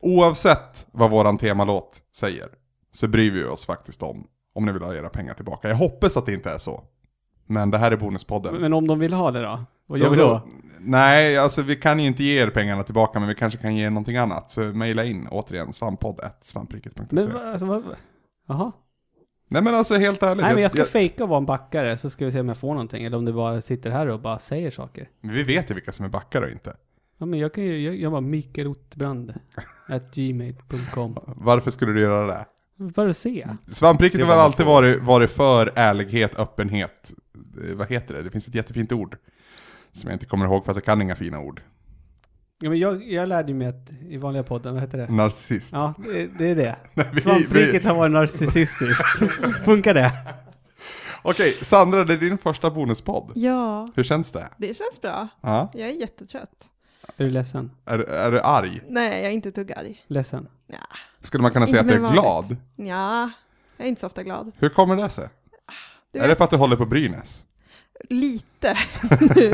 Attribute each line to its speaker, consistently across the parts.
Speaker 1: oavsett vad våran temalåt säger så bryr vi oss faktiskt om om ni vill ha era pengar tillbaka. Jag hoppas att det inte är så. Men det här är Bonuspodden.
Speaker 2: Men om de vill ha det då? Vad gör vi då?
Speaker 1: Nej, alltså vi kan ju inte ge er pengarna tillbaka men vi kanske kan ge er någonting annat. Så mejla in återigen svamppodd.svampriket.se
Speaker 2: Men vad- alltså, vad... Jaha.
Speaker 1: Nej men alltså helt ärligt.
Speaker 2: Nej men jag
Speaker 1: jag-
Speaker 2: ska fejka och vara en backare så ska vi se om jag får någonting. Eller om du bara sitter här och bara säger saker.
Speaker 1: Men Vi vet ju vilka som är backar och inte.
Speaker 2: Ja men jag kan ju, jag, jag var Mikael Ottbrand. At gmail.com.
Speaker 1: Varför skulle du göra det?
Speaker 2: För att se.
Speaker 1: Svampriket
Speaker 3: Se
Speaker 1: har
Speaker 3: vad
Speaker 1: väl
Speaker 3: man
Speaker 1: alltid
Speaker 3: får.
Speaker 1: varit, varit för ärlighet, öppenhet. Eh, Vad heter det? Det finns ett jättefint ord. Som jag inte kommer ihåg för att jag kan inga fina ord.
Speaker 2: Ja men jag, jag lärde mig att i vanliga podden, vad heter det?
Speaker 1: Narcissist.
Speaker 2: Ja, det, det är det.
Speaker 1: vi-
Speaker 2: Svampriket har varit narcissistiskt. Funkar det?
Speaker 1: Okej, Sandra det är din första bonuspodd.
Speaker 4: Ja,
Speaker 1: Hur känns det?
Speaker 4: det känns bra.
Speaker 1: Ja?
Speaker 4: Jag är jättetrött.
Speaker 2: Är du ledsen?
Speaker 1: Är, är du arg?
Speaker 4: Nej, jag är inte tuggarg.
Speaker 2: Ledsen?
Speaker 1: Skulle man kunna säga att
Speaker 4: Inte
Speaker 1: du är
Speaker 4: mer vanligt.
Speaker 1: glad?
Speaker 4: Ja, jag är inte så ofta glad.
Speaker 1: Hur kommer det sig?
Speaker 4: Du
Speaker 1: är det
Speaker 4: vet,
Speaker 1: för att du håller på Brynäs?
Speaker 4: lite nu.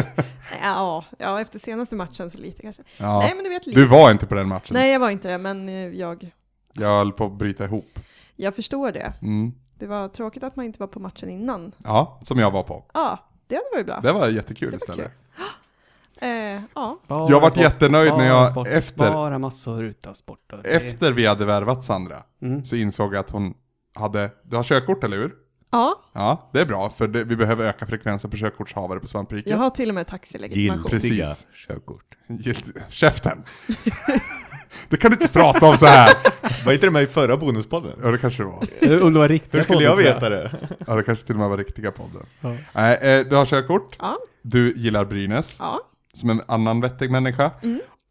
Speaker 4: ja, ja, efter senaste matchen så lite kanske.
Speaker 1: Ja.
Speaker 4: Nej, men du vet lite.
Speaker 1: du var inte på den matchen.
Speaker 4: Nej, jag var inte det, men eh, jag,
Speaker 1: Jag höll på att bryta ihop.
Speaker 4: jag förstår det.
Speaker 1: Mm.
Speaker 4: Det var tråkigt att man inte var på matchen innan.
Speaker 1: Ja, som jag var på.
Speaker 4: Ja, det hade varit bra.
Speaker 1: Det var jättekul
Speaker 4: Det var
Speaker 1: istället.
Speaker 4: Eh, ja,
Speaker 2: Bara
Speaker 1: Jag vart
Speaker 2: sport,
Speaker 1: jättenöjd när
Speaker 2: bara
Speaker 1: jag
Speaker 2: sport,
Speaker 1: efter-
Speaker 2: Bara massor utan sport. och det-
Speaker 1: Efter vi hade värvat Sandra
Speaker 2: Mm.
Speaker 1: så insåg jag att hon hade, du har körkort eller hur?
Speaker 4: ja,
Speaker 1: Ja, det är bra för det, vi behöver öka frekvensen på körkortshavare på Svampriket.
Speaker 4: jag har till och med taxilegitimation.
Speaker 1: Precis.
Speaker 3: Giltiga körkort.
Speaker 1: Gilt- Käften! det kan du inte prata om så här!
Speaker 3: Var inte det med i förra bonuspodden?
Speaker 1: Ja, det kanske det var.
Speaker 2: Eller Om det var riktigt
Speaker 3: Hur skulle jag veta det?
Speaker 1: Ja, det kanske till och med var riktiga podden.
Speaker 2: Ja.
Speaker 1: Nej, eh, du har körkort,
Speaker 4: Ja,
Speaker 1: du gillar Brynäs,
Speaker 4: ja, Mm.
Speaker 1: som en annan vettig människa,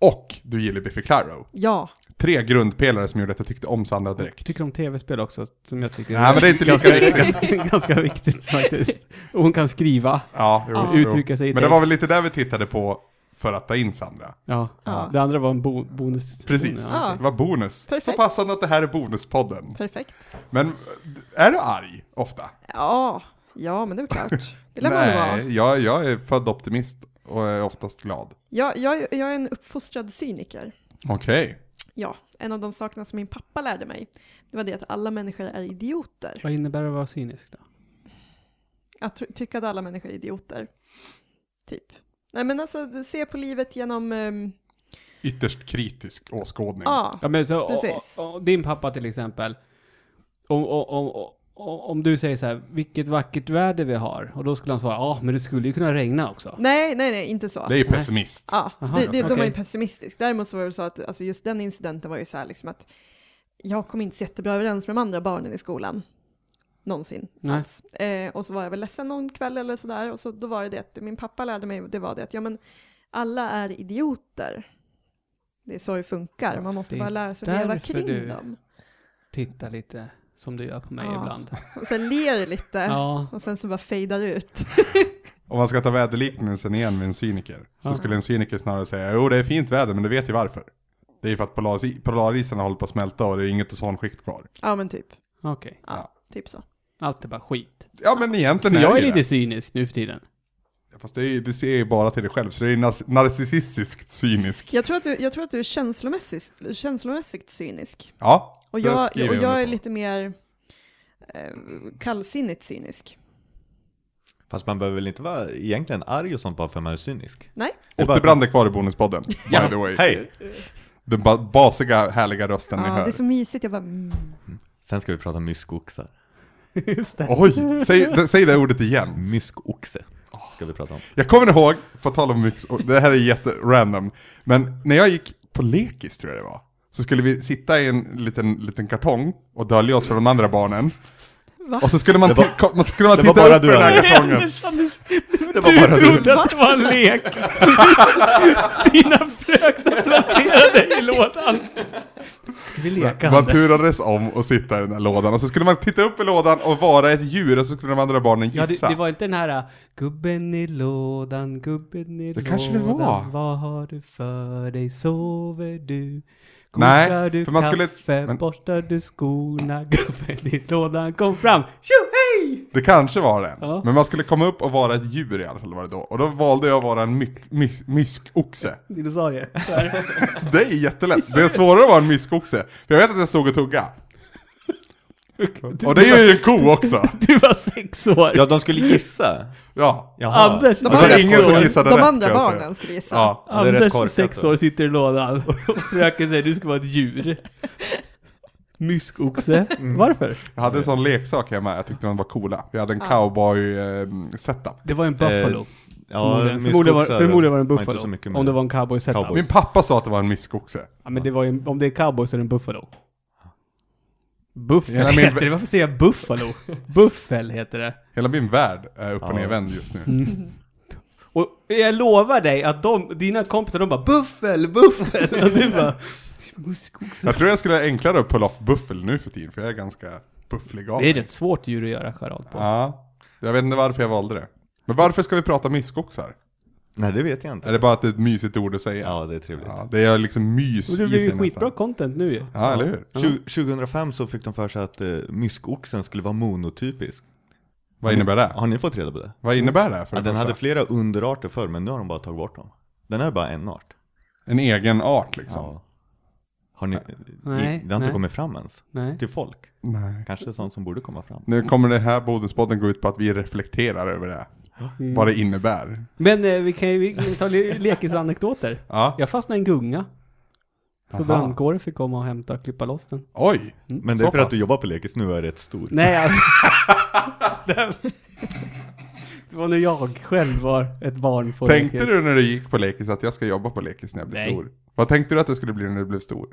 Speaker 1: och du gillar Biffy Clyro.
Speaker 4: ja.
Speaker 1: Tre grundpelare som gjorde att jag tyckte om Sandra direkt.
Speaker 2: Tycker om tv-spel också, som jag tycker
Speaker 1: Nej men det är inte lika
Speaker 2: ganska,
Speaker 1: viktigt.
Speaker 2: viktigt. ganska viktigt faktiskt. Och hon kan skriva.
Speaker 1: Ja, jo,
Speaker 4: Ja.
Speaker 1: jo.
Speaker 2: Uttrycka sig i
Speaker 1: Men det var väl
Speaker 2: text.
Speaker 1: lite där vi tittade på för att ta in Sandra.
Speaker 2: Ja.
Speaker 4: Ja.
Speaker 2: Det andra var en bo bonus.
Speaker 1: Precis,
Speaker 2: Ja.
Speaker 4: Ja.
Speaker 1: det var bonus. Så
Speaker 4: Perfekt.
Speaker 1: passande att det här är bonuspodden.
Speaker 4: perfekt.
Speaker 1: Men är du arg ofta?
Speaker 4: Ja, ja, men det är väl klart. Det lär man ju vara.
Speaker 1: Nej, jag, jag är född optimist och är oftast glad.
Speaker 4: Jag, jag, jag är en uppfostrad cyniker.
Speaker 1: Okej.
Speaker 4: Ja, en av de sakerna som min pappa lärde mig, det var det att alla människor är idioter.
Speaker 2: Vad innebär det att vara cynisk då?
Speaker 4: Att tr- tycka att alla människor är idioter. Typ. Nej men alltså, se på livet genom... ehm,
Speaker 1: Ytterst kritisk åskådning.
Speaker 4: ja,
Speaker 2: Ja, men så, o-
Speaker 4: Precis.
Speaker 2: o- o- din pappa till exempel. Om, om, om, om, om du säger så här, vilket vackert väder vi har. Och då skulle han svara, ja men det skulle ju kunna regna också.
Speaker 4: nej, nej, nej, inte så.
Speaker 1: Det är ju pessimist.
Speaker 4: Ja, så
Speaker 2: Aha,
Speaker 4: det, det, de var
Speaker 2: okej.
Speaker 4: ju pessimistiska. Däremot så var det väl så att alltså just den incidenten var ju så här liksom att jag kom inte så jättebra överens med de andra barnen i skolan. Någonsin
Speaker 2: Nej.
Speaker 4: alls. Eh, och så var jag väl ledsen någon kväll eller sådär. Och så då var det det att min pappa lärde mig, det var det att ja men alla är idioter. Det är så det funkar, man måste
Speaker 2: Det är
Speaker 4: bara lära sig att leva
Speaker 2: därför
Speaker 4: kring
Speaker 2: du-
Speaker 4: dem.
Speaker 2: Titta lite som du gör på mig
Speaker 4: Ja.
Speaker 2: ibland.
Speaker 4: Och sen ler lite.
Speaker 2: Ja.
Speaker 4: Och sen så bara fejdar det ut.
Speaker 1: Om man ska ta väderliknelsen igen med en cyniker, så
Speaker 2: Ja.
Speaker 1: skulle en cyniker snarare säga jo det är fint väder men du vet ju varför. Det är ju för att polar, polarisarna håller på att smälta och det är inget ozonskikt kvar.
Speaker 4: Ja men typ,
Speaker 2: Okej.
Speaker 4: typ så.
Speaker 2: Allt är bara skit.
Speaker 1: Ja men egentligen
Speaker 2: Så jag är
Speaker 1: det
Speaker 2: lite cynisk nu för tiden.
Speaker 1: det. Fast det är, ju- du ser ju bara till dig själv, så det är ju nas- narcissistiskt cynisk.
Speaker 4: Jag tror att du, jag tror att du är känslomässigt, känslomässigt cynisk.
Speaker 1: Ja,
Speaker 4: Och
Speaker 1: det
Speaker 4: jag,
Speaker 1: skriver
Speaker 4: och
Speaker 1: under
Speaker 4: jag är
Speaker 1: på.
Speaker 4: lite mer eh, kallsinnigt cynisk.
Speaker 3: Fast man behöver väl inte vara egentligen arg och sånt bara för att man är cynisk?
Speaker 4: Nej,
Speaker 3: Det är bara-
Speaker 1: Otterbrand är kvar i Bonuspodden, by the way.
Speaker 3: Hej!
Speaker 1: Den ba- basiga, härliga rösten ni
Speaker 4: ja, det
Speaker 1: hör.
Speaker 4: är så mysigt. Jag bara, mm.
Speaker 3: Sen ska vi prata myskoxar.
Speaker 2: Just det.
Speaker 1: Oj, säg, d- säg det ordet igen.
Speaker 3: Myskoxe ska vi prata om.
Speaker 1: Jag kommer ihåg, på tal om mix, och det här är jätterandom, men när jag gick på lekis tror jag det var, så skulle vi sitta i en liten, liten kartong och dölja oss från de andra barnen.
Speaker 4: Va?
Speaker 1: Och så skulle man,
Speaker 3: Det var-
Speaker 1: ti- ko- man, skulle man
Speaker 3: det var
Speaker 1: titta
Speaker 3: bara
Speaker 1: upp i
Speaker 3: du,
Speaker 1: den här
Speaker 3: Alex.
Speaker 1: kartongen.
Speaker 3: Det var bara du.
Speaker 2: trodde att det var en lek. Dina fröknar placerade i lådan. Ska vi leka?
Speaker 1: Man turades om att sitta i den här lådan, och så skulle man titta upp i lådan och vara ett djur, och så skulle de andra barnen
Speaker 2: Ja, det,
Speaker 1: gissa.
Speaker 2: det var inte den här äh, gubben i lådan, gubben i
Speaker 1: Det
Speaker 2: lådan.
Speaker 1: kanske det var.
Speaker 2: Vad har du för dig? Sover du?
Speaker 1: Nej,
Speaker 2: Kokar du
Speaker 1: för man skulle-
Speaker 2: kaffe?
Speaker 1: men-
Speaker 2: Borstar du skorna? Gubben i lådan kom fram. Tjohej!
Speaker 4: nej!
Speaker 1: Det kanske var den.
Speaker 2: Ja.
Speaker 1: Men man skulle komma upp och vara ett djur i alla fall var det då. Och då valde jag att vara en myk- my- myskoxe.
Speaker 2: Dinosaurie. Så här.
Speaker 1: Det är jättelätt. Det är svårare att vara en myskoxe. För jag vet att jag stod och tugga.
Speaker 2: Du,
Speaker 1: Och det är ju en ko också.
Speaker 2: du var sex år.
Speaker 3: Ja, de skulle gissa.
Speaker 1: Ja.
Speaker 3: Jaha.
Speaker 2: Anders,
Speaker 1: Det var ingen som gissade
Speaker 4: De
Speaker 1: rätt,
Speaker 4: andra
Speaker 1: kan jag säga.
Speaker 4: barnen skulle gissa.
Speaker 1: Ja.
Speaker 3: Ja, det är rätt
Speaker 2: Anders,
Speaker 3: korkat,
Speaker 2: sex
Speaker 3: då.
Speaker 2: år, sitter i lådan och fröken säger du ska vara ett djur. Myskoxe.
Speaker 3: Mm.
Speaker 2: Varför?
Speaker 1: Jag hade en sån leksak hemma, jag tyckte de var coola. Jag hade en eh,
Speaker 4: Ja.
Speaker 1: cowboy-setup.
Speaker 2: Det var en buffalo.
Speaker 3: Eh, Ja,
Speaker 2: förmodligen.
Speaker 3: myskoxar
Speaker 2: förmodligen, var, förmodligen var det en
Speaker 3: inte så mycket
Speaker 2: buffalo.
Speaker 3: med.
Speaker 2: Om det var en cowboy setup.
Speaker 3: Cowboy.
Speaker 1: Min pappa sa att det var en myskoxe.
Speaker 2: Ja, men det var ju, en- om det är cowboy så är det en buffalo. Buffel
Speaker 1: Ja, men-
Speaker 2: heter det. Varför säger jag buffalo? Buffel heter det.
Speaker 1: Hela min värld är upp och
Speaker 3: Ja.
Speaker 1: nervänd just nu.
Speaker 2: Och jag lovar dig att de, dina kompisar, de bara buffel, buffel. Och du bara myskoxe.
Speaker 1: Jag tror jag skulle ha enklare att pull off buffel nu för tiden, för jag är ganska bufflig av
Speaker 2: Det är
Speaker 1: mig.
Speaker 2: ett svårt djur att göra charad på.
Speaker 1: Ja. Jag vet inte varför jag valde det. Men varför ska vi prata myskoxar?
Speaker 3: Nej, det vet jag
Speaker 1: Är
Speaker 3: inte.
Speaker 1: det bara att det är ett mysigt ord att säga?
Speaker 3: Ja, det är trevligt.
Speaker 1: Ja, det är liksom mys
Speaker 2: Och det
Speaker 1: i
Speaker 2: blir
Speaker 1: sig
Speaker 2: ju
Speaker 1: nästan.
Speaker 2: skitbra content nu ju.
Speaker 1: Ja, eller hur?
Speaker 3: Tju- 2005 så fick de för sig att eh, myskoxen skulle vara monotypisk.
Speaker 1: Vad innebär det?
Speaker 3: Har ni fått reda på det?
Speaker 1: Vad innebär det? För det
Speaker 3: Ja, den
Speaker 1: första?
Speaker 3: hade flera underarter förr, men nu har de bara tagit bort dem. Den är bara en art.
Speaker 1: En egen art liksom?
Speaker 3: Ja. Har ni,
Speaker 2: Nej,
Speaker 3: i, det har inte
Speaker 2: nej.
Speaker 3: kommit fram ens.
Speaker 2: Nej.
Speaker 3: Till folk.
Speaker 1: Nej.
Speaker 3: Kanske sånt som borde komma fram.
Speaker 1: Nu kommer det här bonuspodden gå ut på att vi reflekterar över det. Vad det innebär.
Speaker 2: Men eh, vi kan ju vi kan ta le- lekisanekdoter.
Speaker 1: Ja.
Speaker 2: Jag fastnade i en gunga. Så
Speaker 1: Aha.
Speaker 2: brandkåren fick komma och hämta och klippa loss den.
Speaker 1: Oj!
Speaker 3: Mm. Men det är
Speaker 1: Så
Speaker 3: för att
Speaker 1: pass.
Speaker 3: du jobbar på Lekis nu och är rätt stor.
Speaker 2: Nej, alltså. det, det var när jag själv var ett barn på
Speaker 1: Tänkte
Speaker 2: lekis.
Speaker 1: du när du gick på lekis att jag ska jobba på lekis när jag blir
Speaker 2: Nej.
Speaker 1: stor? Vad tänkte du att det skulle bli när du blev stor?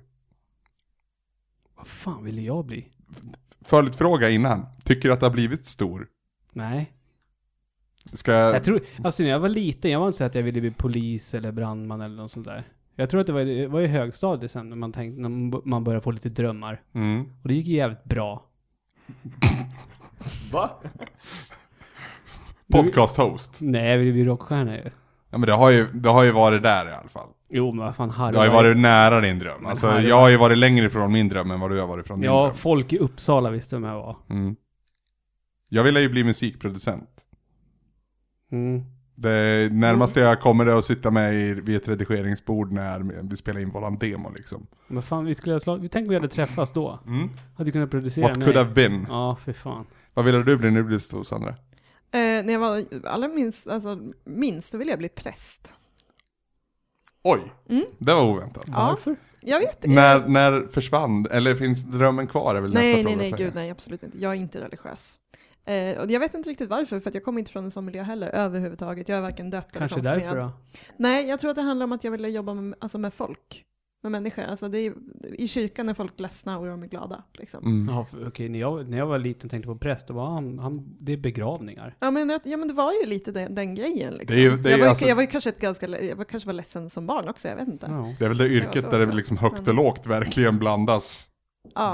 Speaker 2: Vad fan ville jag bli?
Speaker 1: Följdfråga innan. Tycker du att det har blivit stor?
Speaker 2: Nej.
Speaker 1: Ska jag...
Speaker 2: Jag tror, alltså när jag var liten, jag var inte så att jag ville bli polis eller brandman eller något sånt där. Jag tror att det var, det var i högstadiet sen när man tänkte, när man b- man började få lite drömmar.
Speaker 1: Mm.
Speaker 2: Och det gick ju jävligt bra.
Speaker 3: Va?
Speaker 1: Podcast-host.
Speaker 2: Nej, jag ville bli rockstjärna ju.
Speaker 1: Ja men det har, ju, det har ju varit där i alla fall.
Speaker 2: Jo, men vad fan Harry
Speaker 1: Det har ju
Speaker 2: var-
Speaker 1: varit nära din dröm. Alltså
Speaker 2: Harry
Speaker 1: jag har ju varit längre ifrån min dröm än vad du har varit från din
Speaker 2: Ja,
Speaker 1: dröm.
Speaker 2: folk i Uppsala visste vem jag var.
Speaker 1: Mm. Jag ville ju bli musikproducent.
Speaker 2: Mm.
Speaker 1: Det närmaste jag kommer är att sitta med i, vid ett redigeringsbord när vi spelar in våran demo liksom.
Speaker 2: Men fan, vi skulle ha slagit... Tänk om vi hade träffats då.
Speaker 1: Mm.
Speaker 2: Hade du kunnat producera
Speaker 1: What could have been?
Speaker 2: Ja, för fan.
Speaker 1: Vad ville du bli när du blev stor Sandra?
Speaker 4: Eh, när jag var allra minst, alltså, minst, då ville jag bli präst.
Speaker 1: Oj!
Speaker 4: Mm.
Speaker 1: Det var oväntat.
Speaker 4: Ja.
Speaker 2: Varför?
Speaker 4: Jag vet
Speaker 1: När, när försvann, eller finns drömmen kvar är väl nästa
Speaker 4: Nej,
Speaker 1: fråga
Speaker 4: nej,
Speaker 1: att
Speaker 4: nej,
Speaker 1: säga.
Speaker 4: gud, nej, absolut inte. Jag är inte religiös. Eh, och jag vet inte riktigt varför, för att jag kommer inte från en sån miljö heller överhuvudtaget. Jag är varken döpt
Speaker 2: Kanske
Speaker 4: eller
Speaker 2: därför
Speaker 4: konfirmerad.
Speaker 2: då?
Speaker 4: Nej, jag tror att det handlar om att jag ville jobba med, alltså med folk, med människor. Alltså det är, I kyrkan är folk ledsna och de är glada. Liksom.
Speaker 1: Mm.
Speaker 2: Ja, för, okej, när, jag, när jag var liten tänkte jag på präst, då var han, han, det är begravningar.
Speaker 4: Ja, men, jag- ja, men det var ju lite den, den grejen. Liksom.
Speaker 1: Det är ju- det är
Speaker 4: jag,
Speaker 1: ju
Speaker 4: var, ju-
Speaker 1: alltså-
Speaker 4: jag var ju kanske, ett ganska, le- jag var, kanske var ledsen som barn också, jag vet inte. Ja,
Speaker 2: Ja.
Speaker 1: Det är väl det
Speaker 4: Det
Speaker 1: yrket
Speaker 4: var så
Speaker 1: där det
Speaker 4: också.
Speaker 1: liksom högt och
Speaker 4: Men-
Speaker 1: lågt verkligen blandas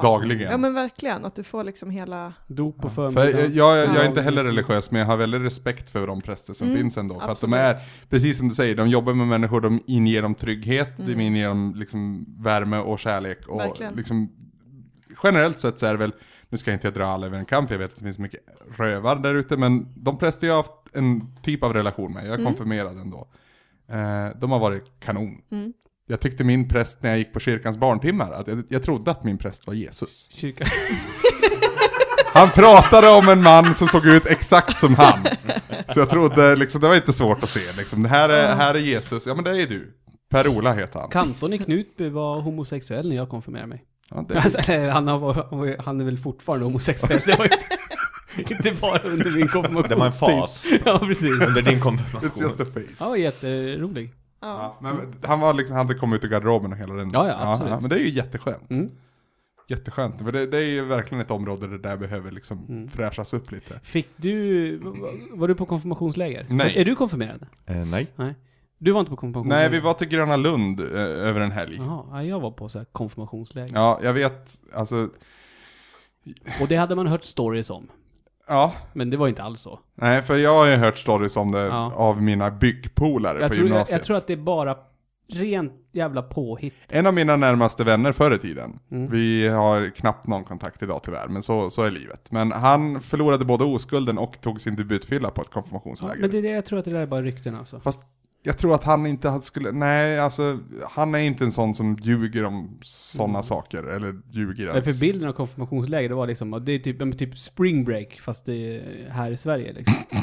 Speaker 1: dagligen.
Speaker 4: ja men verkligen, att du får liksom hela...
Speaker 2: Dop på
Speaker 1: För eh, jag,
Speaker 2: förmiddagen.
Speaker 1: jag, jag är
Speaker 2: Ja.
Speaker 1: inte heller religiös, men jag har väldigt respekt för de präster som
Speaker 4: Mm,
Speaker 1: finns ändå. För att de
Speaker 4: absolut.
Speaker 1: är, precis som du säger, de jobbar med människor, de inger dem trygghet, de
Speaker 4: Mm.
Speaker 1: inger dem liksom värme och kärlek. Och
Speaker 4: Verkligen.
Speaker 1: liksom, generellt sett så är det väl, nu ska jag inte dra alla över en kam, för jag vet att det finns mycket rövar där ute, men de präster jag har haft en typ av relation med, jag är
Speaker 4: Mm.
Speaker 1: konfirmerad ändå, eh, de har varit kanon.
Speaker 4: Mm.
Speaker 1: Jag tyckte min präst när jag gick på kyrkans barntimmar, att jag, jag trodde att min präst var Jesus.
Speaker 2: Kyrka.
Speaker 1: Han pratade om en man som såg ut exakt som han. Så jag trodde, liksom, det var inte svårt att se. Liksom. Det här är, här är Jesus, ja men det är du. Per-Ola heter han.
Speaker 2: Kanton i Knutby var homosexuell när jag konfirmerade mig.
Speaker 1: Ja, det,
Speaker 2: Alltså, eller, han, har, han var- han är väl fortfarande homosexuell. Det var ju- inte bara under min konfirmation.
Speaker 3: Det var en fas
Speaker 2: Ja, precis.
Speaker 3: under din
Speaker 1: it's
Speaker 3: konfirmation.
Speaker 1: typ. just a
Speaker 2: Han
Speaker 1: face.
Speaker 2: var jätterolig.
Speaker 4: Ja.
Speaker 1: Ja, men han, var liksom, han hade kommit ut ur garderoben och hela den.
Speaker 2: Ja, ja, absolut.
Speaker 1: men det är ju jätteskönt.
Speaker 2: Mm.
Speaker 1: Jätteskönt. För det, det är ju verkligen ett område där det där behöver liksom
Speaker 2: Mm.
Speaker 1: fräschas upp lite.
Speaker 2: Fick du... var- Var du på konfirmationsläger?
Speaker 1: Nej.
Speaker 2: Är du konfirmerad?
Speaker 3: Eh, nej.
Speaker 2: Du var inte på konfirmationsläger?
Speaker 1: Nej, vi var till Gröna Lund eh, över en helg.
Speaker 2: Jaha, ja, jag var på så här konfirmationsläger.
Speaker 1: Ja, jag vet, alltså,
Speaker 2: Och det hade man hört stories om.
Speaker 1: ja.
Speaker 2: Men det var inte alls så.
Speaker 1: Nej, för jag har ju hört stories om det
Speaker 2: Ja.
Speaker 1: av mina byggpolare
Speaker 2: Jag
Speaker 1: på
Speaker 2: tror, jag,
Speaker 1: gymnasiet.
Speaker 2: jag tror att det är bara Rent jävla påhitt.
Speaker 1: En av mina närmaste vänner förr i tiden,
Speaker 2: Mm.
Speaker 1: vi har knappt någon kontakt idag tyvärr, men så, så är livet. Men han förlorade både oskulden och tog sin debutfylla på ett
Speaker 2: Ja,
Speaker 1: konfirmationsläger.
Speaker 2: men det är det jag tror att det där är bara rykten alltså.
Speaker 1: Jag tror att han inte han skulle, nej alltså, han är inte en sån som ljuger om sådana
Speaker 2: Mm.
Speaker 1: saker, eller ljuger
Speaker 2: Men
Speaker 1: ens.
Speaker 2: för bilden av konfirmationsläger, det var liksom, att det är typ, ja, men typ spring break, fast det är här i Sverige liksom. ja,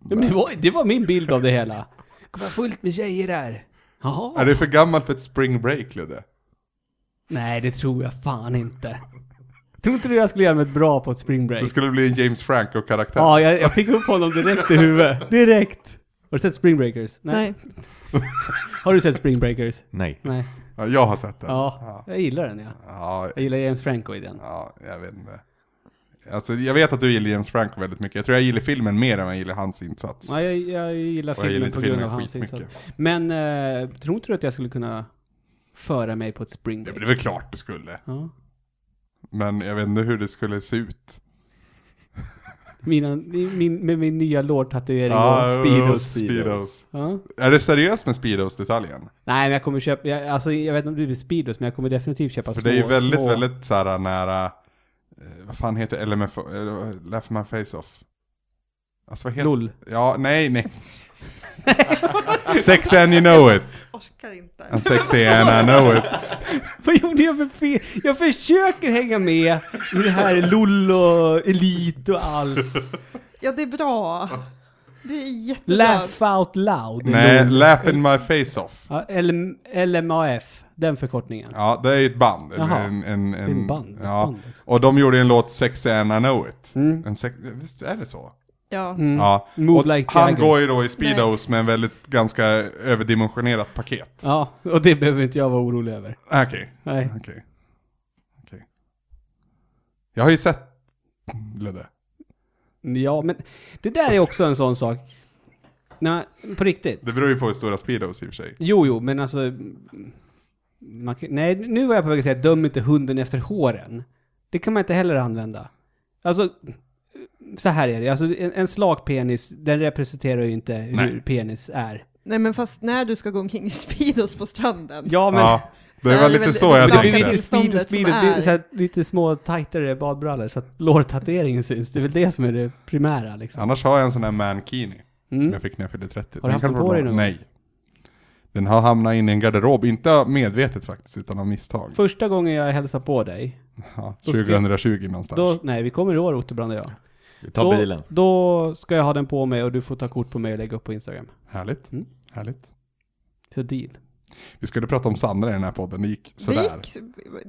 Speaker 2: men det, var, det var min bild av det hela. Kommer vara fullt med tjejer där.
Speaker 1: Är
Speaker 2: Jaha.
Speaker 1: det för gammalt för ett spring break Ludde?
Speaker 2: Nej, det tror jag fan inte. Tror inte du jag skulle göra mig bra på ett spring break?
Speaker 1: Det skulle bli en James Franco-karaktär.
Speaker 2: Ja, jag, jag fick upp honom direkt i huvudet. Direkt! Har du sett Spring Breakers?
Speaker 4: Nej.
Speaker 2: Har du sett Spring Breakers?
Speaker 3: Nej.
Speaker 2: Nej.
Speaker 1: Ja, Jag har sett den.
Speaker 2: Ja, jag gillar den ja.
Speaker 1: Ja,
Speaker 2: Jag gillar James Franco i den.
Speaker 1: ja, jag vet inte. Alltså, jag vet att du gillar James Franco väldigt mycket. Jag tror jag gillar filmen mer än jag gillar hans insats.
Speaker 2: Ja, jag, jag gillar
Speaker 1: Och jag
Speaker 2: filmen
Speaker 1: gillar
Speaker 2: på
Speaker 1: inte
Speaker 2: grund
Speaker 1: filmen
Speaker 2: av hans
Speaker 1: skitmycket.
Speaker 2: insats. Men eh, tror inte du att jag skulle kunna föra mig på ett Spring
Speaker 1: Det
Speaker 2: Break?
Speaker 1: är väl klart du skulle.
Speaker 2: Ja.
Speaker 1: Men jag vet inte hur det skulle se ut.
Speaker 2: Mina, min, med min nya lårtatuering och
Speaker 1: Ja,
Speaker 2: Speedos.
Speaker 1: Speedos.
Speaker 2: Ja.
Speaker 1: Är du seriös med Speedos-detaljen?
Speaker 2: Nej, men jag kommer köpa, jag, alltså jag vet inte om det blir Speedos, men jag kommer definitivt köpa
Speaker 1: För
Speaker 2: små.
Speaker 1: det är ju väldigt,
Speaker 2: små.
Speaker 1: väldigt så här nära, eh, vad fan heter LMFO, eh, Laugh My Face Off? Alltså vad heter
Speaker 2: LOL.
Speaker 1: Ja, nej, nej. sex and you know it.
Speaker 4: Orkar inte.
Speaker 2: Alltså-
Speaker 1: And sexy and I know it.
Speaker 2: Vad gjorde jag för fel? Jag försöker hänga med i det här LOL och Elit och allt.
Speaker 4: Ja, det är bra. Det är jättebra.
Speaker 2: Laugh out loud.
Speaker 1: Nej,
Speaker 2: LOL.
Speaker 1: Laugh in my face off.
Speaker 2: Ja, LM, LMAF, den förkortningen.
Speaker 1: Ja, det är ju ett band. En,
Speaker 2: Jaha.
Speaker 1: en, en,
Speaker 2: Det är en band.
Speaker 1: Ja.
Speaker 2: Ett band också.
Speaker 1: Och de gjorde en låt, Sexy and I know it.
Speaker 2: Mm.
Speaker 1: En sex, visst är det så?
Speaker 4: Ja.
Speaker 2: Mm.
Speaker 1: Ja.
Speaker 2: Move
Speaker 1: och
Speaker 2: like
Speaker 1: han
Speaker 2: Jagger.
Speaker 1: går ju då i Speedos med en väldigt, ganska överdimensionerat paket. Ah,
Speaker 2: Ja, och det behöver inte jag vara orolig över.
Speaker 1: Okej,
Speaker 2: Nej.
Speaker 1: okej. Okej. Jag har ju sett Ludde.
Speaker 2: Ja, men det där är också en sån sak. Nej, på riktigt.
Speaker 1: Det beror ju på hur stora Speedos i och för sig.
Speaker 2: Jo, jo, men alltså... mm, Man, kan- nej, nu var jag på väg att säga döm inte hunden efter håren. Det kan man inte heller använda. Alltså, så här är det. Alltså, en, en slak penis, den representerar ju inte hur
Speaker 1: Nej.
Speaker 2: penis är.
Speaker 4: Nej, men fast när du ska gå omkring i Speedos på stranden.
Speaker 2: Ja, men...
Speaker 1: Ja,
Speaker 4: Så
Speaker 1: det
Speaker 4: är
Speaker 1: var
Speaker 4: det
Speaker 1: lite
Speaker 4: väl
Speaker 1: så jag
Speaker 2: Det
Speaker 4: slaka
Speaker 2: blir
Speaker 1: tänkte.
Speaker 2: lite
Speaker 4: tillståndet
Speaker 2: speedos,
Speaker 4: som
Speaker 2: speedos, det blir
Speaker 4: är.
Speaker 2: så här, lite små tajtare badbrallor så att lårtatueringen syns. Det är väl det som är det primära liksom.
Speaker 1: Annars har jag en sån här mankini som
Speaker 2: Mm.
Speaker 1: jag fick när jag fyllde 30.
Speaker 2: Har du haft
Speaker 1: kan
Speaker 2: den
Speaker 1: vara
Speaker 2: på
Speaker 1: bra.
Speaker 2: dig någon gång?
Speaker 1: Nej. Den har hamnat in i en garderob, inte medvetet faktiskt, utan av misstag.
Speaker 2: Första gången jag hälsade på dig,
Speaker 1: Ja,
Speaker 2: Då ska-
Speaker 1: 2020 någonstans.
Speaker 2: då, nej vi kommer i år Otterbrand och jag.
Speaker 3: Vi tar
Speaker 2: Då,
Speaker 3: bilen.
Speaker 2: då ska jag ha den på mig och du får ta kort på mig och lägga upp på Instagram.
Speaker 1: Härligt.
Speaker 2: Mm.
Speaker 1: Härligt.
Speaker 2: Så deal.
Speaker 1: Vi skulle prata om Sandra i den här podden, det gick
Speaker 4: Det
Speaker 1: sådär.
Speaker 4: gick,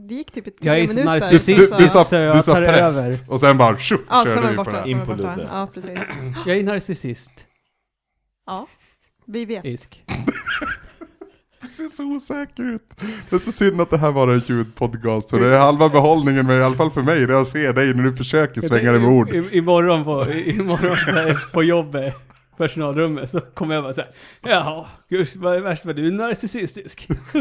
Speaker 4: det gick typ i tio
Speaker 2: Jag är
Speaker 4: minuter.
Speaker 1: Du,
Speaker 2: narcissist.
Speaker 1: du, du
Speaker 2: Så
Speaker 1: sa,
Speaker 2: jag
Speaker 1: du sa
Speaker 2: tar
Speaker 1: präst,
Speaker 2: över.
Speaker 1: och sen bara tjo,
Speaker 4: Ja, sen var
Speaker 1: körde
Speaker 4: det
Speaker 1: vi på det.
Speaker 4: borta.
Speaker 1: här.
Speaker 4: sen var det
Speaker 3: In på
Speaker 4: borta.
Speaker 3: Ludde.
Speaker 4: Ja, precis.
Speaker 2: Jag är narcissist.
Speaker 4: Ja, vi vet.
Speaker 2: Isk.
Speaker 1: Det ser så osäker ut. Det är så synd att det här var en ljudpodcast, för det är
Speaker 4: Mm.
Speaker 1: halva behållningen, men i alla fall för mig, det är att se dig när du försöker svänga dig med ord.
Speaker 2: I, i, imorgon på, i, imorgon på- på jobbet, personalrummet, så kommer jag bara så här. Jaha, gud, vad är värst med du är narcissistisk. Så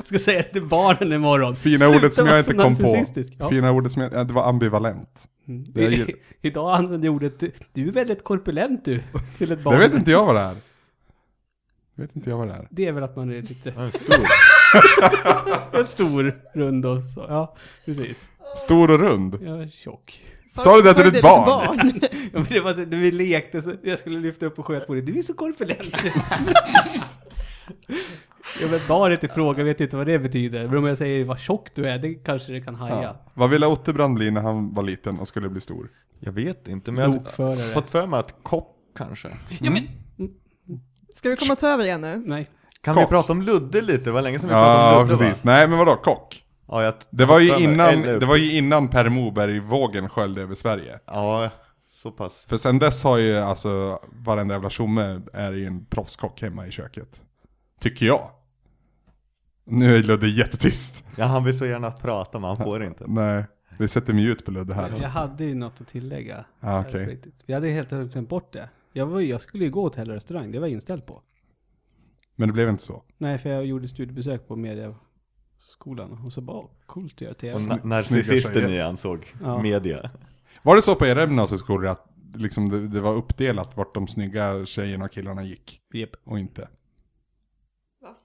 Speaker 2: jag ska säga till barnen imorgon.
Speaker 1: Fina
Speaker 2: "Sluta
Speaker 1: ordet som
Speaker 2: vara
Speaker 1: jag inte
Speaker 2: så
Speaker 1: kom på.
Speaker 2: narcissistisk." Ja.
Speaker 1: Fina ordet som jag, ja, det var ambivalent.
Speaker 2: Mm.
Speaker 1: Det jag
Speaker 2: I-
Speaker 1: gillar.
Speaker 2: Idag använder jag ordet, du är väldigt korpulent du, till ett barn.
Speaker 1: Det vet inte jag vad det är. Det vet inte jag vad det är.
Speaker 2: Det är väl att man är lite
Speaker 3: Ja, en stor.
Speaker 2: en stor, rund och så. Ja, precis.
Speaker 1: Stor och rund.
Speaker 2: Jag är tjock.
Speaker 1: Sa du det till ditt barn?
Speaker 2: Ja, men det var så, när vi lekte så jag skulle lyfta upp och sköt på dig. Du är så korpulent. ja, men barnet i fråga vet inte vad det betyder. Men om jag säger vad tjock du är, det kanske det kan haja.
Speaker 1: Ja. Vad ville Otterbrand bli när han var liten och skulle bli stor?
Speaker 3: Jag vet inte, men jag
Speaker 2: Lokförare.
Speaker 3: har fått för mig att kock kanske.
Speaker 2: Ja, men,
Speaker 4: Ska vi komma och ta över igen nu?
Speaker 2: nej.
Speaker 3: Kan
Speaker 1: Kock.
Speaker 3: vi prata om Ludde lite? Det var länge sedan vi pratade
Speaker 1: Ja,
Speaker 3: om Ludde
Speaker 1: precis. Nej, men vadå, kock?
Speaker 3: va? Ja, jag
Speaker 1: Det var, ju
Speaker 3: har för mig.
Speaker 1: innan,
Speaker 3: Eller-
Speaker 1: det var ju innan Per Moberg-vågen sköljde över Sverige.
Speaker 3: Ja, så pass.
Speaker 1: För sen dess har ju alltså varenda jävla tjomme är ju en proffskock hemma i köket. Tycker jag. Nu är Ludde jättetyst.
Speaker 3: Ja, han vill så gärna prata men han får inte.
Speaker 1: Nej, vi sätter mute på Ludde här.
Speaker 2: Jag hade ju något att tillägga.
Speaker 1: Ja, okej.
Speaker 2: Riktigt. Jag hade helt enkelt glömt bort det. Jag, var, ju- jag skulle ju gå till hotell och restaurang, det var jag inställd på.
Speaker 1: Men det blev inte så.
Speaker 2: Nej, för jag gjorde studiebesök på mediaskolan och så bara, "Åh, coolt att göra
Speaker 3: Och
Speaker 2: tv.
Speaker 3: na-
Speaker 1: snygga
Speaker 3: narcissisten
Speaker 1: tjejer.
Speaker 3: i han såg
Speaker 2: Ja.
Speaker 3: media.
Speaker 1: Var det så på era gymnasieskolor att liksom det, det var uppdelat vart de snygga tjejerna och killarna gick
Speaker 2: Japp.
Speaker 1: och inte?
Speaker 4: Va?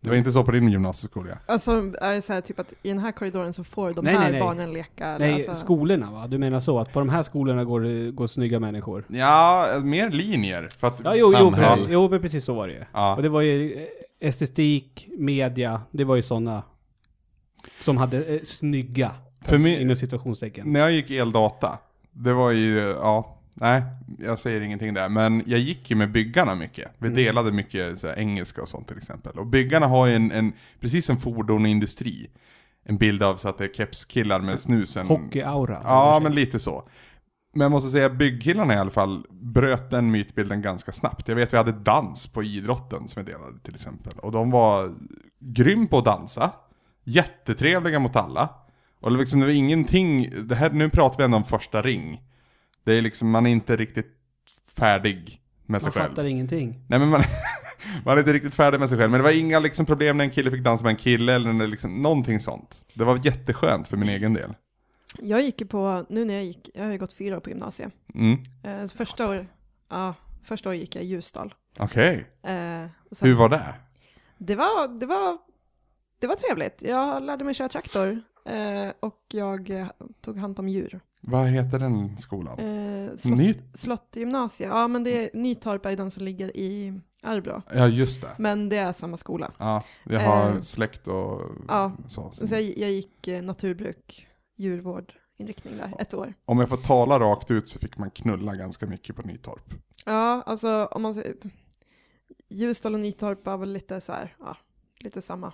Speaker 1: Det var inte så på din gymnasieskola.
Speaker 4: Alltså är det så här typ att i den här korridoren så får de
Speaker 2: Nej,
Speaker 4: här
Speaker 2: nej, nej.
Speaker 4: barnen leka? eller
Speaker 2: Nej,
Speaker 4: alltså,
Speaker 2: skolorna va? Du menar så att på de här skolorna går, det- går snygga människor?
Speaker 1: Ja, mer linjer. För att
Speaker 2: Ja, jo, jo,
Speaker 3: Samhäll.
Speaker 2: precis, jo, men precis så var det ju.
Speaker 1: Ja.
Speaker 2: Och det var ju eh, estetik, media, det var ju sådana som hade eh, snygga,
Speaker 1: För mig-
Speaker 2: inom situationstecken.
Speaker 1: När jag gick eldata, det var ju, ja, nej, jag säger ingenting där. Men jag gick ju med byggarna mycket. Vi delade mycket så här, engelska och sånt till exempel. Och byggarna har ju en, en precis som fordon och industri, en bild av så att det är kepskillar med snusen.
Speaker 2: Hockeyaura.
Speaker 1: Ja, men lite så. Men jag måste säga, byggkillarna i alla fall bröt den mytbilden ganska snabbt. Jag vet vi hade dans på idrotten som vi delade till exempel. Och de var grym på att dansa, jättetrevliga mot alla. Och det liksom, det var ingenting, det här, nu pratar vi ändå om första ring. Det är liksom, man är inte riktigt färdig med sig
Speaker 2: Man
Speaker 1: själv.
Speaker 2: fattar ingenting.
Speaker 1: Nej men man, man är inte riktigt färdig med sig själv. Men det var inga liksom, problem när en kille fick dansa med en kille eller när det liksom, någonting sånt. Det var jätteskönt för min egen del.
Speaker 4: Jag gick ju på, nu när jag gick, jag har ju gått fyra år på gymnasiet.
Speaker 1: Mm.
Speaker 4: Eh, så första, år, ja, första år gick jag i Ljusdal.
Speaker 1: Okej.
Speaker 4: Eh, och sen,
Speaker 1: Hur var det?
Speaker 4: det, var, det, var, det var trevligt. Jag lärde mig köra traktor eh, och jag eh, tog hand om djur.
Speaker 1: Vad heter den skolan?
Speaker 4: Eh,
Speaker 2: Mm.
Speaker 4: slott,
Speaker 1: Nytt?
Speaker 4: Slottgymnasiet, ja men det är, Nytorp är ju den som ligger i Arbrå.
Speaker 1: Ja, just det.
Speaker 4: Men det är samma skola.
Speaker 1: Ja, jag har
Speaker 4: Eh,
Speaker 1: släkt och
Speaker 4: ja.
Speaker 1: så.
Speaker 4: Så jag, jag gick eh, naturbruk, djurvård, inriktning där, ett år.
Speaker 1: Om jag får tala rakt ut så fick man knulla ganska mycket på Nytorp.
Speaker 4: Ja, alltså om man säger Ljusdal och Nytorp är väl lite så här, ja, lite samma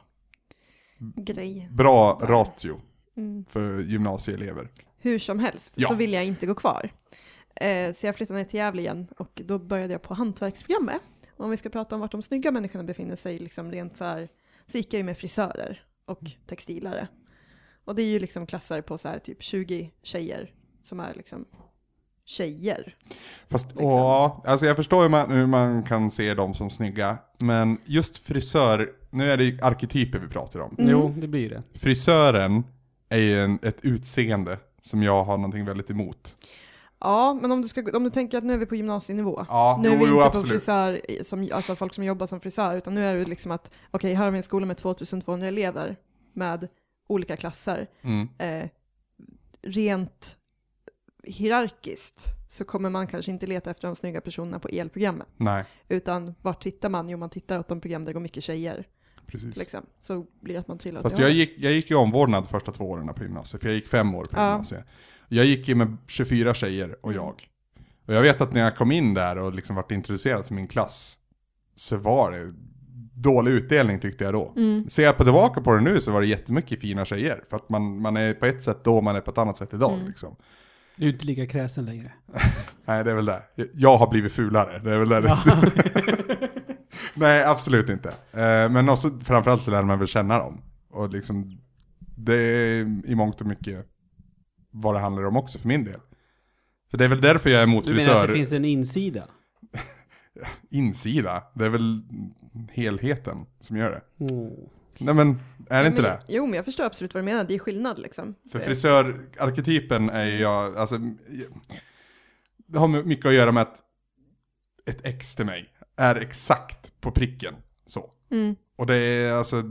Speaker 4: grej.
Speaker 1: Bra
Speaker 4: Sådär.
Speaker 1: ratio
Speaker 4: Mm.
Speaker 1: för gymnasieelever.
Speaker 4: Hur som helst
Speaker 1: Ja.
Speaker 4: så ville jag inte gå kvar. Eh, så jag flyttade ner till Gävle igen och då började jag på hantverksprogrammet. Och om vi ska prata om vart de snygga människorna befinner sig, liksom rent så, här, så gick jag ju med frisörer och textilare. Och det är ju liksom klasser på så här typ 20 tjejer som är liksom tjejer.
Speaker 1: Fast
Speaker 4: Liksom.
Speaker 1: åh, alltså jag förstår hur man, hur man kan se dem som snygga, men just frisör, nu är det ju arketyper vi pratar om.
Speaker 4: Mm.
Speaker 2: Jo, det blir det.
Speaker 1: Frisören är ju en, ett utseende som jag har någonting väldigt emot.
Speaker 4: Ja, men om du, ska, om du tänker att nu är vi på gymnasienivå.
Speaker 1: Ja,
Speaker 4: Nu är
Speaker 1: jo,
Speaker 4: vi
Speaker 1: jo,
Speaker 4: inte på
Speaker 1: absolut.
Speaker 4: frisör, i- som, alltså folk som jobbar som frisör, utan nu är det liksom att okej, här har vi en skola med 2200 elever med olika klasser.
Speaker 1: Mm.
Speaker 4: Eh, rent hierarkiskt så kommer man kanske inte leta efter de snygga personerna på elprogrammet,
Speaker 1: Nej,
Speaker 4: utan vart tittar man? Jo, man tittar åt de program där det går mycket tjejer,
Speaker 1: precis.
Speaker 4: liksom. Så blir det att man trillar åt
Speaker 1: Fast
Speaker 4: det
Speaker 1: jag
Speaker 4: hållet.
Speaker 1: gick, jag gick ju omvårdnad första två åren på gymnasiet, för jag gick fem år på
Speaker 4: Ja. Mm.
Speaker 1: gymnasiet. Jag gick ju med 24 tjejer och jag. Och jag vet att när jag kom in där och liksom vart introducerad för min klass, så var det dålig utdelning tyckte jag då.
Speaker 4: Mm.
Speaker 1: Ser jag på tillbaka på det nu så var det jättemycket fina tjejer. För att man, man är på ett sätt då, man är på ett annat sätt idag
Speaker 4: Mm.
Speaker 1: liksom.
Speaker 2: Du är inte lika kräsen längre.
Speaker 1: Nej, det är väl det. Jag har blivit fulare, det är väl det det Nej, absolut inte. Eh, Men också, framförallt lär man väl känna dem. Och liksom, det är i mångt och mycket vad det handlar om också för min del. För det är väl därför jag är emot
Speaker 2: Du menar
Speaker 1: frisör.
Speaker 2: att det finns en insida?
Speaker 1: Insida, det är väl helheten som gör det.
Speaker 2: Mm.
Speaker 1: Nej men, är det inte
Speaker 4: men,
Speaker 1: det?
Speaker 4: Jo, men jag förstår absolut vad du menar, det är skillnad liksom.
Speaker 1: För frisörarketypen är ju jag, alltså, det har mycket att göra med att ett ex till mig är exakt på pricken. Så.
Speaker 4: Mm.
Speaker 1: Och det är alltså,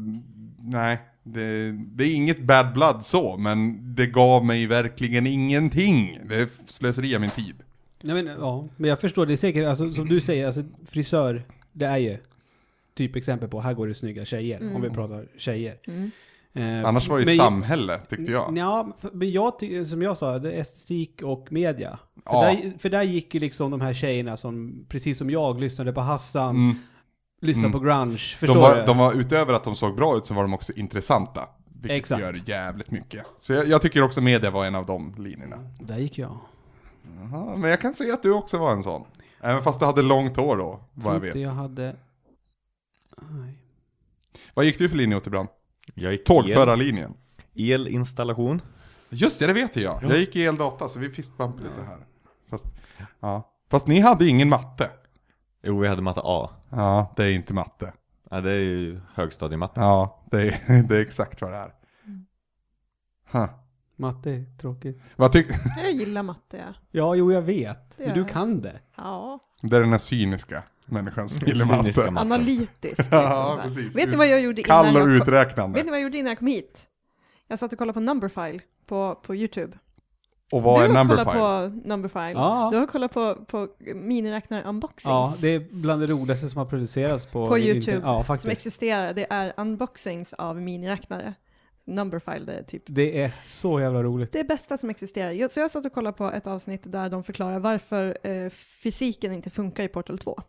Speaker 1: nej, det, det är inget bad blood så, men det gav mig verkligen ingenting. Det slösade min tid.
Speaker 2: Nej, men, ja, men jag förstår, det är säkert, alltså, som du säger, alltså, frisör, det är ju typ exempel på, här går det snygga tjejer, om vi pratar tjejer.
Speaker 4: Mm.
Speaker 2: Eh,
Speaker 1: Annars var det ju
Speaker 2: men-
Speaker 1: samhälle, tyckte jag.
Speaker 2: Ja, men jag ty- som jag sa, det är estetik och media. För,
Speaker 1: Ja.
Speaker 2: där, för där gick ju liksom de här tjejerna som, precis som jag, lyssnade på Hassan,
Speaker 1: Mm.
Speaker 2: lyssnade
Speaker 1: Mm.
Speaker 2: på grunge, förstår
Speaker 1: De var,
Speaker 2: du?
Speaker 1: de var utöver att de såg bra ut så var de också intressanta. Vilket
Speaker 2: Exakt.
Speaker 1: gör jävligt mycket. Så jag, jag tycker också media var en av de linjerna.
Speaker 2: Där gick jag.
Speaker 1: Jaha, men jag kan säga att du också var en sån. Även fast du hade långt hår då, vad jag
Speaker 2: Tror
Speaker 1: vet.
Speaker 2: inte jag hade... Nej.
Speaker 1: Vad gick du för linje Otterbrand?
Speaker 3: Jag gick el,
Speaker 1: Tågförarlinjen.
Speaker 3: elinstallation.
Speaker 1: Just det, det vet jag. Jag gick i eldata så vi fistbump lite här. Fast, ja. Fast ni hade ingen matte.
Speaker 3: Jo, vi hade matte A.
Speaker 1: Ja, det är inte matte.
Speaker 3: Ja, det är ju högstadiematte.
Speaker 1: Ja, det är, det är exakt vad det är. Huh.
Speaker 2: Matte är tråkigt.
Speaker 1: Vad tyck-
Speaker 4: Jag gillar matte, ja.
Speaker 2: Ja, jo jag vet.
Speaker 4: Det
Speaker 2: Men
Speaker 4: gör
Speaker 2: du
Speaker 4: jag.
Speaker 2: kan det.
Speaker 4: ja.
Speaker 1: det är den här cyniska. människans
Speaker 3: Cyniska
Speaker 1: spillematte.
Speaker 3: man.
Speaker 4: Analytisk. Liksom,
Speaker 1: Ja,
Speaker 4: så här.
Speaker 1: precis.
Speaker 4: Vet ni vad jag gjorde innan
Speaker 1: Kall och
Speaker 4: jag kom,
Speaker 1: uträknande.
Speaker 4: Vet ni vad jag gjorde innan jag kom hit? Jag satt och kollade på Numberfile på, på YouTube.
Speaker 1: Och vad är
Speaker 4: du har
Speaker 1: number
Speaker 4: kollat
Speaker 1: five?
Speaker 4: på Numberfile.
Speaker 2: Ja.
Speaker 4: Du har kollat på, på miniräknare-unboxings.
Speaker 2: Ja, det är bland det roligaste som har producerats på,
Speaker 4: På
Speaker 2: internet.
Speaker 4: YouTube.
Speaker 2: Ja,
Speaker 4: som
Speaker 2: faktiskt.
Speaker 4: existerar, det är unboxings av miniräknare. Numberfile, det är typ
Speaker 2: Det är så jävla roligt.
Speaker 4: det bästa som existerar. Jag- Så jag satt och kollade på ett avsnitt där de förklarar varför eh, fysiken inte funkar i Portal 2.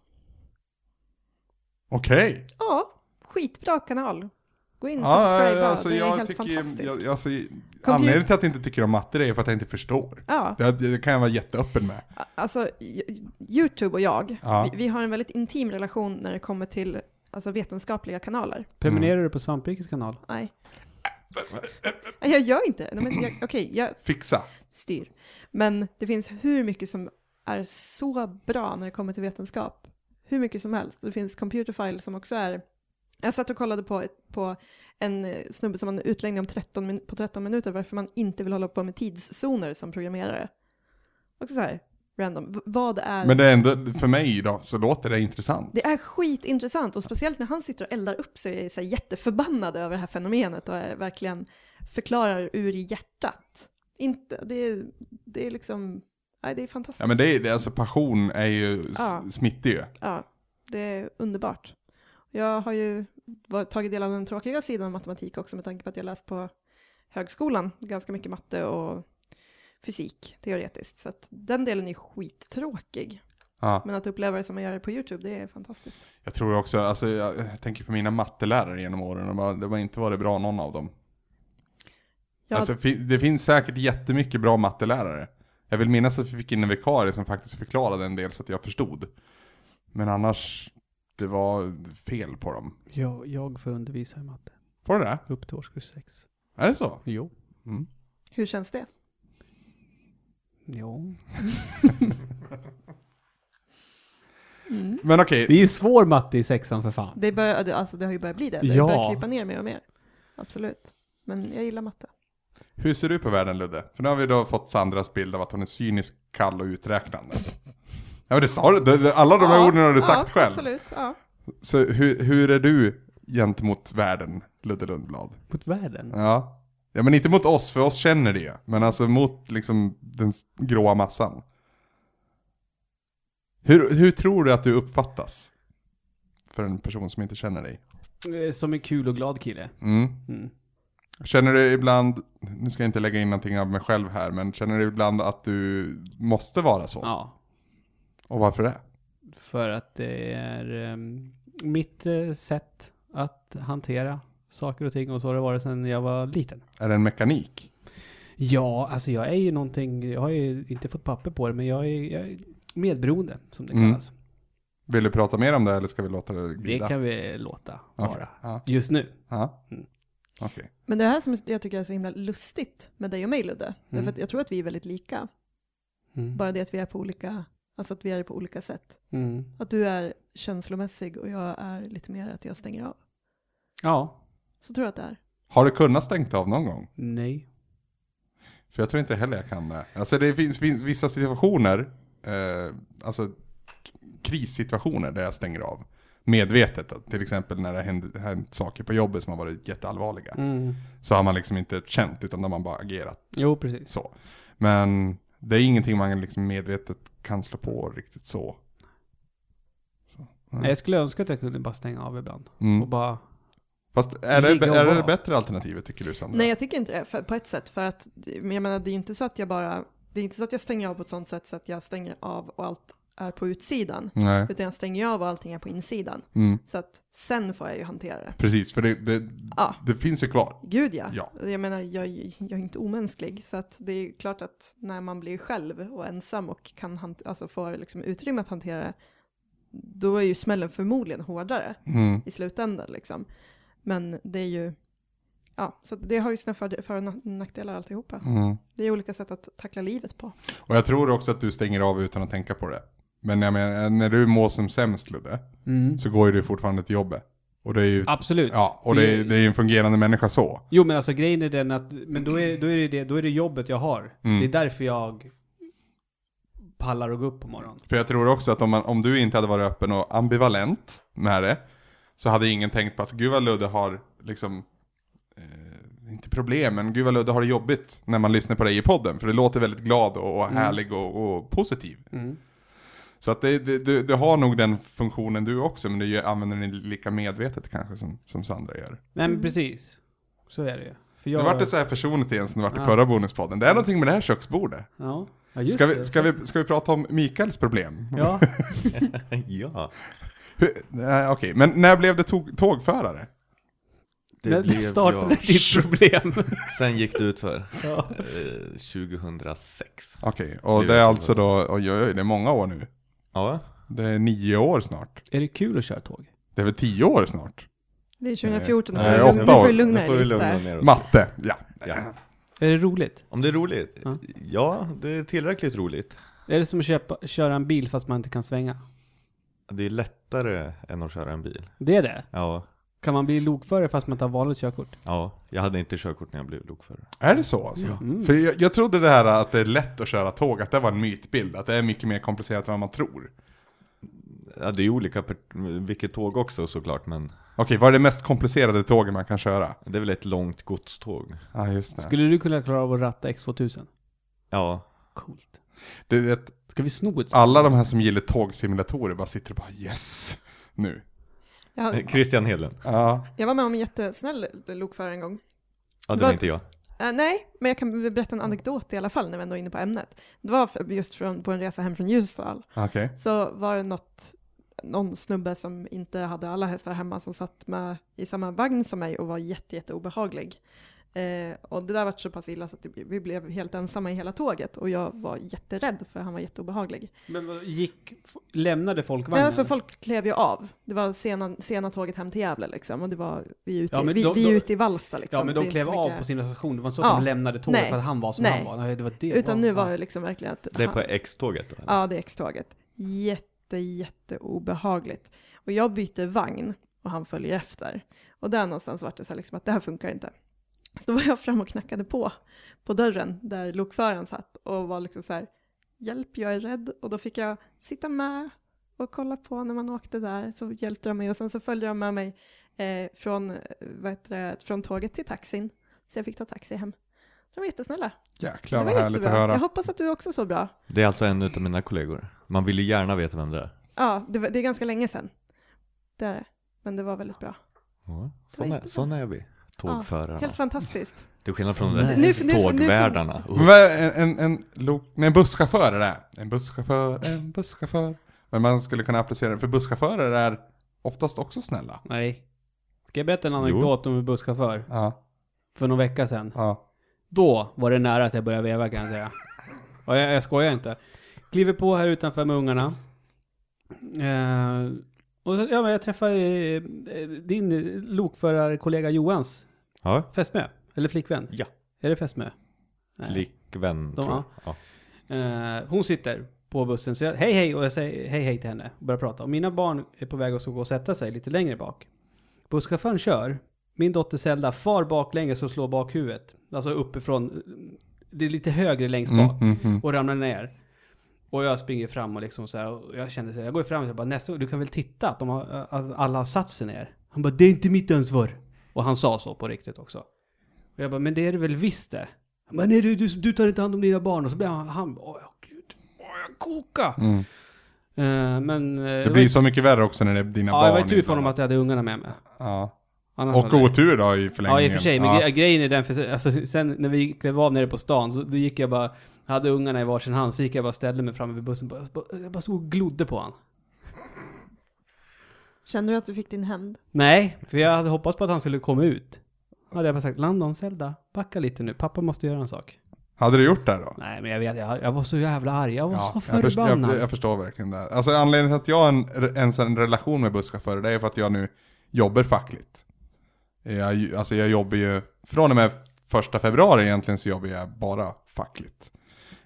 Speaker 1: Okej.
Speaker 4: Ja, skitbra kanal. Gå in och
Speaker 1: Ja,
Speaker 4: subscribe,
Speaker 1: ja, alltså,
Speaker 4: det är
Speaker 1: jag
Speaker 4: helt
Speaker 1: tycker,
Speaker 4: fantastiskt.
Speaker 1: jag, alltså, anledningen till att jag inte tycker om matte är för att jag inte förstår.
Speaker 4: Ja,
Speaker 1: Det, det kan jag vara jätteöppen med.
Speaker 4: alltså y- Youtube och jag,
Speaker 1: Ja.
Speaker 4: vi, vi har en väldigt intim relation när det kommer till alltså, vetenskapliga kanaler.
Speaker 2: Prenumererar
Speaker 1: Mm.
Speaker 2: du på Svamprikets kanal?
Speaker 4: Nej. Nej, Jag gör inte det. Nej, men jag- Okej, jag
Speaker 1: Fixa.
Speaker 4: styr. Men det finns hur mycket som är så bra när det kommer till vetenskap. Hur mycket som helst. Det finns computerfile som också är... Jag satt och kollade på, ett- på en eh, snubbe som hade en utläggning om 13, min- på 13 minuter varför man inte vill hålla på med tidszoner som programmerare. Också så här, random. V- vad är...
Speaker 1: Men det är ändå, för mig då, så låter det intressant.
Speaker 4: Det är skitintressant och speciellt när han sitter och eldar upp sig och är så här jätteförbannad över det här fenomenet och är verkligen förklarar ur hjärtat. Inte, det, är, det är liksom, nej, det är fantastiskt.
Speaker 1: Ja men det är, det, är alltså passion är ju s-
Speaker 4: Ja.
Speaker 1: smittig ju.
Speaker 4: Ja, det är underbart. Jag har ju var- tagit del av den tråkiga sidan av matematik också med tanke på att jag läst på högskolan ganska mycket matte och fysik teoretiskt. Så att den delen är skittråkig.
Speaker 1: Ja.
Speaker 4: Men att uppleva det som man gör på YouTube, det är fantastiskt.
Speaker 1: Jag tror också, alltså jag jag tänker på mina mattelärare genom åren, och bara- det var inte varit bra någon av dem.
Speaker 4: Ja.
Speaker 1: Alltså fi- det finns säkert jättemycket bra mattelärare. Jag vill minnas att vi fick in en vikarie som faktiskt förklarade en del så att jag förstod. Men annars, det var fel på dem.
Speaker 2: Ja, jag får undervisa i matte.
Speaker 1: Var det det?
Speaker 2: Upp till årskurs sex.
Speaker 1: Är det så?
Speaker 2: Jo.
Speaker 1: Mm.
Speaker 4: Hur känns det?
Speaker 2: Jo.
Speaker 1: Men okej,
Speaker 2: Det är svår matte i sexan för fan.
Speaker 4: Det, börjar, det- alltså det har ju börjat bli det. Det
Speaker 2: Ja.
Speaker 4: börjar krypa ner mer och mer. Absolut. Men jag gillar matte.
Speaker 1: hur ser du på världen Ludde? För nu har vi då fått Sandras bild av att hon är cynisk, kall och uträknande. Ja men det sa du, det- det- alla de här orden har du
Speaker 4: ja,
Speaker 1: sagt själv.
Speaker 4: Absolut, ja.
Speaker 1: Så hur, hur är du gentemot världen, Ludde Lundblad?
Speaker 2: Mot världen?
Speaker 1: Ja. Ja men inte mot oss, för oss känner det ju. Men alltså mot liksom den s- gråa massan. Hur, hur tror du att du uppfattas? För en person som inte känner dig.
Speaker 2: Eh, Som en kul och glad kille.
Speaker 1: Mm.
Speaker 2: Mm.
Speaker 1: Känner du ibland, nu ska jag inte lägga in någonting av mig själv här, men känner du ibland att du måste vara så?
Speaker 2: Ja.
Speaker 1: Och varför det?
Speaker 2: För att det är ehm, mitt eh, sätt att hantera saker och ting och så har det varit sedan jag var liten.
Speaker 1: Är det en mekanik?
Speaker 2: Ja, alltså jag är ju någonting, jag har ju inte fått papper på det, men jag är, jag är medberoende som det
Speaker 1: Mm.
Speaker 2: kallas.
Speaker 1: Vill du prata mer om det eller ska vi låta det
Speaker 2: Det
Speaker 1: glida?
Speaker 2: kan vi låta
Speaker 1: Okej.
Speaker 2: vara.
Speaker 1: Ja.
Speaker 2: Just nu.
Speaker 1: Ja.
Speaker 2: Mm.
Speaker 1: Okej.
Speaker 4: Men det här som jag tycker är så himla lustigt med dig och mig Ludde, därför
Speaker 2: Mm.
Speaker 4: att jag tror att vi är väldigt lika.
Speaker 2: Mm.
Speaker 4: Bara det att vi är på olika, alltså att vi är det på olika sätt.
Speaker 2: Mm.
Speaker 4: Att du är känslomässig och jag är lite mer att jag stänger av.
Speaker 2: Ja.
Speaker 4: Så tror jag att det är.
Speaker 1: Har du kunnat stängt av någon gång?
Speaker 2: Nej.
Speaker 1: För jag tror inte heller jag kan det. Alltså det finns, finns vissa situationer, eh, alltså k- krissituationer där jag stänger av. Medvetet, att till exempel när det hänt, hänt saker på jobbet som har varit jätteallvarliga.
Speaker 2: Mm.
Speaker 1: Så har man liksom inte känt utan då har man bara agerat
Speaker 2: Jo, precis.
Speaker 1: så. Men det är ingenting man liksom medvetet kan slå på riktigt så.
Speaker 2: Nej, Jag skulle önska att jag kunde bara stänga av ibland. Och
Speaker 1: Mm.
Speaker 2: bara...
Speaker 1: Fast är det,
Speaker 2: Ligga och
Speaker 1: är det
Speaker 2: vara.
Speaker 1: det bättre alternativet tycker du Sandra?
Speaker 4: Nej, jag tycker inte det för, på ett sätt. För att, men jag menar, det är ju inte så att jag bara, det är inte så att jag stänger av på ett sånt sätt så att jag stänger av och allt är på utsidan.
Speaker 1: Nej.
Speaker 4: Utan jag stänger ju av och allting är på insidan.
Speaker 1: Mm.
Speaker 4: Så att sen får jag ju hantera det.
Speaker 1: Precis, för det, det,
Speaker 4: Ja.
Speaker 1: det finns ju kvar.
Speaker 4: Gud ja.
Speaker 1: Ja.
Speaker 4: Jag menar, jag, jag är inte omänsklig. Så att det är klart att när man blir själv och ensam och kan hant- alltså får liksom utrymme att hantera det, då är ju smällen förmodligen hårdare
Speaker 1: Mm.
Speaker 4: i slutändan. Liksom. Men det är ju, ja, så att det har ju sina för, för och na- nackdelar alltihopa.
Speaker 1: Mm.
Speaker 4: Det är olika sätt att tackla livet på.
Speaker 1: Och jag tror också att du stänger av utan att tänka på det. Men jag menar, när du mår som sämst Ludde,
Speaker 2: Mm.
Speaker 1: så går ju du fortfarande till jobbet. Och det är ju,
Speaker 2: Absolut.
Speaker 1: typ. ja, och det är, det är ju en fungerande människa så.
Speaker 2: Jo, men alltså grejen är den att... Men då är, då är, det, det, då är det jobbet jag har.
Speaker 1: Mm.
Speaker 2: Det är därför jag pallar att gå upp på morgonen.
Speaker 1: För jag tror också att om, man, om du inte hade varit öppen och ambivalent med det, så hade ingen tänkt på att gud vad Ludde har liksom, eh, inte problem, men gud vad Ludde har det jobbigt när man lyssnar på dig i podden. För du låter väldigt glad och, och härlig och, och positiv.
Speaker 2: Mm.
Speaker 1: Så att det, det, du, du har nog den funktionen du också, men du gör- använder den lika medvetet kanske som, som Sandra gör.
Speaker 2: Nej men precis. Så är det ju. För
Speaker 1: Nu vart det så här personligt igen som det vart i
Speaker 2: Ja.
Speaker 1: förra bonuspodden. Det är någonting med det här köksbordet.
Speaker 2: Ja, ja just
Speaker 1: Ska vi,
Speaker 2: det.
Speaker 1: ska, vi, ska vi prata om Mikaels problem?
Speaker 2: Ja,
Speaker 3: ja.
Speaker 1: Hur- Nej, Okej, men när blev det tog, tågförare?
Speaker 3: Det
Speaker 2: det
Speaker 3: blev
Speaker 2: startade
Speaker 3: jag.
Speaker 2: ditt problem.
Speaker 3: Sen gick det ut för
Speaker 2: ja.
Speaker 3: eh, 2006.
Speaker 1: Okej, och
Speaker 3: Det
Speaker 1: det
Speaker 3: vet
Speaker 1: är
Speaker 3: jag
Speaker 1: alltså då, oj, oj, oj, det är många år nu.
Speaker 3: Ja,
Speaker 1: Det är nio år snart.
Speaker 2: Är det kul att köra tåg?
Speaker 1: Det är väl tio år snart?
Speaker 4: Det är 2014, nu
Speaker 1: Nej,
Speaker 4: får du lugna-
Speaker 1: åtta
Speaker 4: nu får
Speaker 1: år.
Speaker 4: du lugna
Speaker 3: nu får vi
Speaker 4: dig
Speaker 3: lugna
Speaker 4: lite.
Speaker 3: ner oss.
Speaker 1: Matte, ja.
Speaker 3: Ja.
Speaker 2: Är det roligt?
Speaker 3: Om det är roligt?
Speaker 2: Ja.
Speaker 3: Ja, det är tillräckligt roligt.
Speaker 2: Är det som att köpa, köra en bil fast man inte kan svänga?
Speaker 3: Det är lättare än att köra en bil.
Speaker 2: Det är det?
Speaker 3: Ja,
Speaker 2: Kan man bli lokförare fast man tar vanligt körkort?
Speaker 3: ja. jag hade inte körkort när jag blev lokförare.
Speaker 1: Är det så alltså?
Speaker 4: Mm.
Speaker 1: För jag, jag trodde det här att det är lätt att köra tåg, att det var en mytbild, att det är mycket mer komplicerat än vad man tror.
Speaker 3: Ja, det är olika, per- vilket tåg också såklart, men
Speaker 1: Okej, vad är det mest komplicerade tåget man kan köra?
Speaker 3: det är väl ett långt godståg.
Speaker 1: Ja, just det.
Speaker 2: Skulle du kunna klara av att ratta X2000?
Speaker 3: Ja,
Speaker 2: Coolt.
Speaker 1: det är ett,
Speaker 2: Ska vi sno ett sånt?
Speaker 1: alla de här som gillar tågsimulatorer bara sitter och bara yes, nu.
Speaker 4: Jag,
Speaker 3: Christian Hedlund.
Speaker 1: Ja,
Speaker 4: jag var med om en jättesnäll lokförare en gång.
Speaker 3: Ja, det
Speaker 4: Vad-
Speaker 3: var inte jag.
Speaker 4: Eh, nej, men jag kan berätta en anekdot i alla fall när vi ändå är inne på ämnet. Det var för- just från, på en resa hem från Ljusdal.
Speaker 1: okej.
Speaker 4: Så var det något, någon snubbe som inte hade alla hästar hemma som satt med i samma vagn som mig och var jätte, jätte obehaglig. Eh, och det där var så pass illa så att det- vi blev helt ensamma i hela tåget och jag var jätterädd för han var jätteobehaglig.
Speaker 2: Men vad, gick, f- lämnade folk
Speaker 4: Nej,
Speaker 2: vagnen?
Speaker 4: alltså folk klev ju av. Det var sena, sena tåget hem till Gävle liksom och det var, vi är ute,
Speaker 2: Ja,
Speaker 4: i-
Speaker 2: men
Speaker 4: vi,
Speaker 2: de-
Speaker 4: vi är
Speaker 2: de-
Speaker 4: ute i Vallsta liksom.
Speaker 2: ja men
Speaker 4: Det är
Speaker 2: de
Speaker 4: inte
Speaker 2: klev
Speaker 4: så
Speaker 2: av
Speaker 4: mycket-
Speaker 2: på sina stationer, det var inte så
Speaker 4: Ja.
Speaker 2: att de lämnade tåget
Speaker 4: Nej.
Speaker 2: för att han var som
Speaker 4: Nej.
Speaker 2: han var. Nej, det var det.
Speaker 4: Utan
Speaker 2: Wow.
Speaker 4: nu var det liksom verkligen att...
Speaker 3: Det är
Speaker 4: han-
Speaker 3: på X-tåget då? eller?
Speaker 4: Ja, det är X-tåget. Jätte, jätte obehagligt. Och jag byter vagn och han följer efter. Och där någonstans var det så här liksom att det här funkar inte. Så då var jag fram och knackade på, på dörren där lokföraren satt och var liksom så här, hjälp, jag är rädd. Och då fick jag sitta med och kolla på när man åkte där. Så hjälpte de mig och sen så följde de med mig eh, från, eh, vad heter det, från tåget till taxin. Så jag fick ta taxi hem. De var jättesnälla.
Speaker 1: Jäklar
Speaker 4: det
Speaker 1: vad
Speaker 4: var
Speaker 1: härligt att
Speaker 4: jättebra. Jag
Speaker 1: höra.
Speaker 4: hoppas att du också så bra.
Speaker 3: Det är alltså en utav mina kollegor. Man vill ju gärna veta vem det är.
Speaker 4: Ja, det, var, det är ganska länge sedan. Det är det. Men det var väldigt bra.
Speaker 3: Ja,
Speaker 4: Det var
Speaker 3: sån, är,
Speaker 4: jättebra.
Speaker 3: sån är vi. Tågförarna.
Speaker 4: Helt fantastiskt.
Speaker 3: Till skillnad från
Speaker 2: Sån
Speaker 3: de
Speaker 2: är
Speaker 3: där
Speaker 4: vi. Nu- nu- nu- nu-
Speaker 3: tågvärdarna.
Speaker 1: Men vad är en, en, en, lo- nej, en busschaufför är det. här. En busschaufför, en busschaufför. Men man skulle kunna applicera det, för busschaufförer är oftast också snälla.
Speaker 2: Nej. Ska jag berätta en
Speaker 3: Jo.
Speaker 2: anekdot om en busschaufför?
Speaker 1: Ja,
Speaker 2: För någon vecka sedan.
Speaker 1: ja.
Speaker 2: Då var det nära att jag började veva kan jag säga. Och jag, jag skojar inte. Kliver på här utanför med ungarna. Eh, och så, ja, men jag träffade eh, din lokförarkollega Johans
Speaker 3: Ja,
Speaker 2: fästmö. Eller flickvän.
Speaker 3: Ja.
Speaker 2: Är det fästmö? Nej.
Speaker 3: flickvän
Speaker 2: De-
Speaker 3: tror jag. Ja.
Speaker 2: Eh, hon sitter på bussen, så jag hej hej och jag säger hej hej till henne och börjar prata. Och mina barn är på väg att gå och sätta sig lite längre bak. Busschauffören kör. Min dotter Zelda far baklänges och slår bakhuvudet. Alltså uppifrån. Det är lite högre längst bak.
Speaker 1: Mm, mm, mm.
Speaker 2: Och ramlar ner. Och jag springer fram och liksom så här, och jag känner så här, jag går fram och jag bara nästa gång, du kan väl titta att, de har, att alla har satt sig ner? Han bara, det är inte mitt ansvar. Och han sa så på riktigt också. Och jag bara, men det är det väl visst det? Han bara, nej du, du, du tar inte hand om dina barn. Och så blev han, han åh ja, gud, åh jag koka.
Speaker 1: Mm.
Speaker 2: Eh, men... eh,
Speaker 1: Det
Speaker 2: var-
Speaker 1: blir så mycket värre också när det är dina barn.
Speaker 2: Ja, det var ju tur för honom
Speaker 1: inblandade.
Speaker 2: att jag hade ungarna med mig.
Speaker 1: Ja.
Speaker 2: Annars
Speaker 1: Och
Speaker 2: hade-
Speaker 1: otur då i förlängningen.
Speaker 2: Ja, i och för sig. Men
Speaker 1: Ja.
Speaker 2: gre- grejen är den, för se- alltså, sen när vi klev av nere på stan, så då gick jag bara, hade ungarna i varsin hand, så gick jag bara och ställde mig framme vid bussen. Bara, bara- jag bara stod och glodde på han.
Speaker 4: Känner du att du fick din hämnd?
Speaker 2: Nej, för jag hade hoppats på att han skulle komma ut. Då hade jag bara sagt, Landon, Zelda, backa lite nu, pappa måste göra en sak.
Speaker 1: Hade du gjort det då?
Speaker 2: Nej, men jag vet, jag, jag var så jävla arg, jag var så
Speaker 1: jag, förstår,
Speaker 2: förbannad.
Speaker 1: jag, jag förstår verkligen det. Alltså anledningen till att jag har en, ens har en relation med busschaufförer, det är för att jag nu jobbar fackligt. Jag, ju- alltså jag jobbar ju, från och med första februari egentligen så jobbar jag bara fackligt.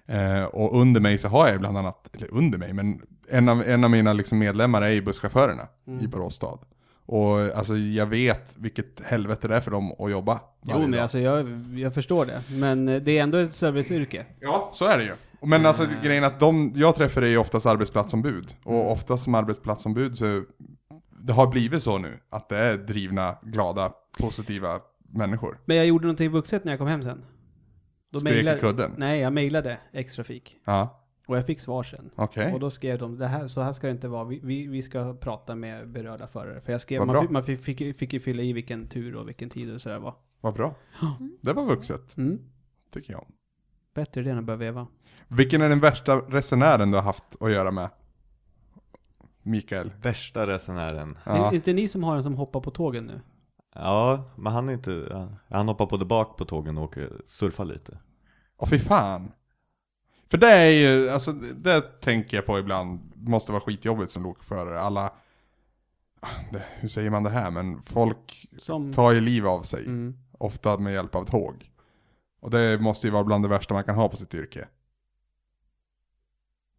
Speaker 1: Eh, och under mig så har jag bland annat, eller under mig, men en av, en av mina liksom medlemmar är ju busschaufförerna
Speaker 2: Mm.
Speaker 1: i Borås stad. Och alltså jag vet vilket helvete det är för dem att jobba.
Speaker 2: Jo,
Speaker 1: varje
Speaker 2: men
Speaker 1: dag.
Speaker 2: alltså jag, jag förstår det. Men eh, det är ändå ett serviceyrke.
Speaker 1: Ja, så är det ju. Men alltså
Speaker 2: Mm.
Speaker 1: grejen är att de jag träffar är ju oftast arbetsplatsombud. Och oftast som arbetsplatsombud så, det har blivit så nu, att det är drivna, glada, positiva människor.
Speaker 2: Men jag gjorde någonting vuxet när jag kom hem sen. Då
Speaker 1: Skrek i kudden?
Speaker 2: Nej, jag mejlade X-Trafik.
Speaker 1: Ja,
Speaker 2: Och jag fick svar sen.
Speaker 1: okej.
Speaker 2: Och då skrev de, det här, så här ska det inte vara, vi, vi, vi ska prata med berörda förare. För jag skrev,
Speaker 1: Vad
Speaker 2: man,
Speaker 1: bra.
Speaker 2: fick, man fick, fick, fick ju fylla i vilken tur och vilken tid och sådär var.
Speaker 1: Vad bra. Det var vuxet,
Speaker 2: Mm.
Speaker 1: tycker jag.
Speaker 2: Bättre det än att börja veva.
Speaker 1: Vilken är den värsta resenären du har haft att göra med? Mikael.
Speaker 3: Värsta resenären.
Speaker 2: Det
Speaker 1: Ja.
Speaker 2: är inte ni som har en som hoppar på tågen nu?
Speaker 3: Ja, men han är inte, han- han hoppar både bak på tågen och åker, surfar lite.
Speaker 1: Åh fy fan. För det är ju, alltså det tänker jag på ibland, måste vara skitjobbigt som lokförare. Alla, det, hur säger man det här, men folk
Speaker 2: Som...
Speaker 1: tar ju liv av sig.
Speaker 2: Mm.
Speaker 1: Ofta med hjälp av tåg. Och det måste ju vara bland det värsta man kan ha på sitt yrke.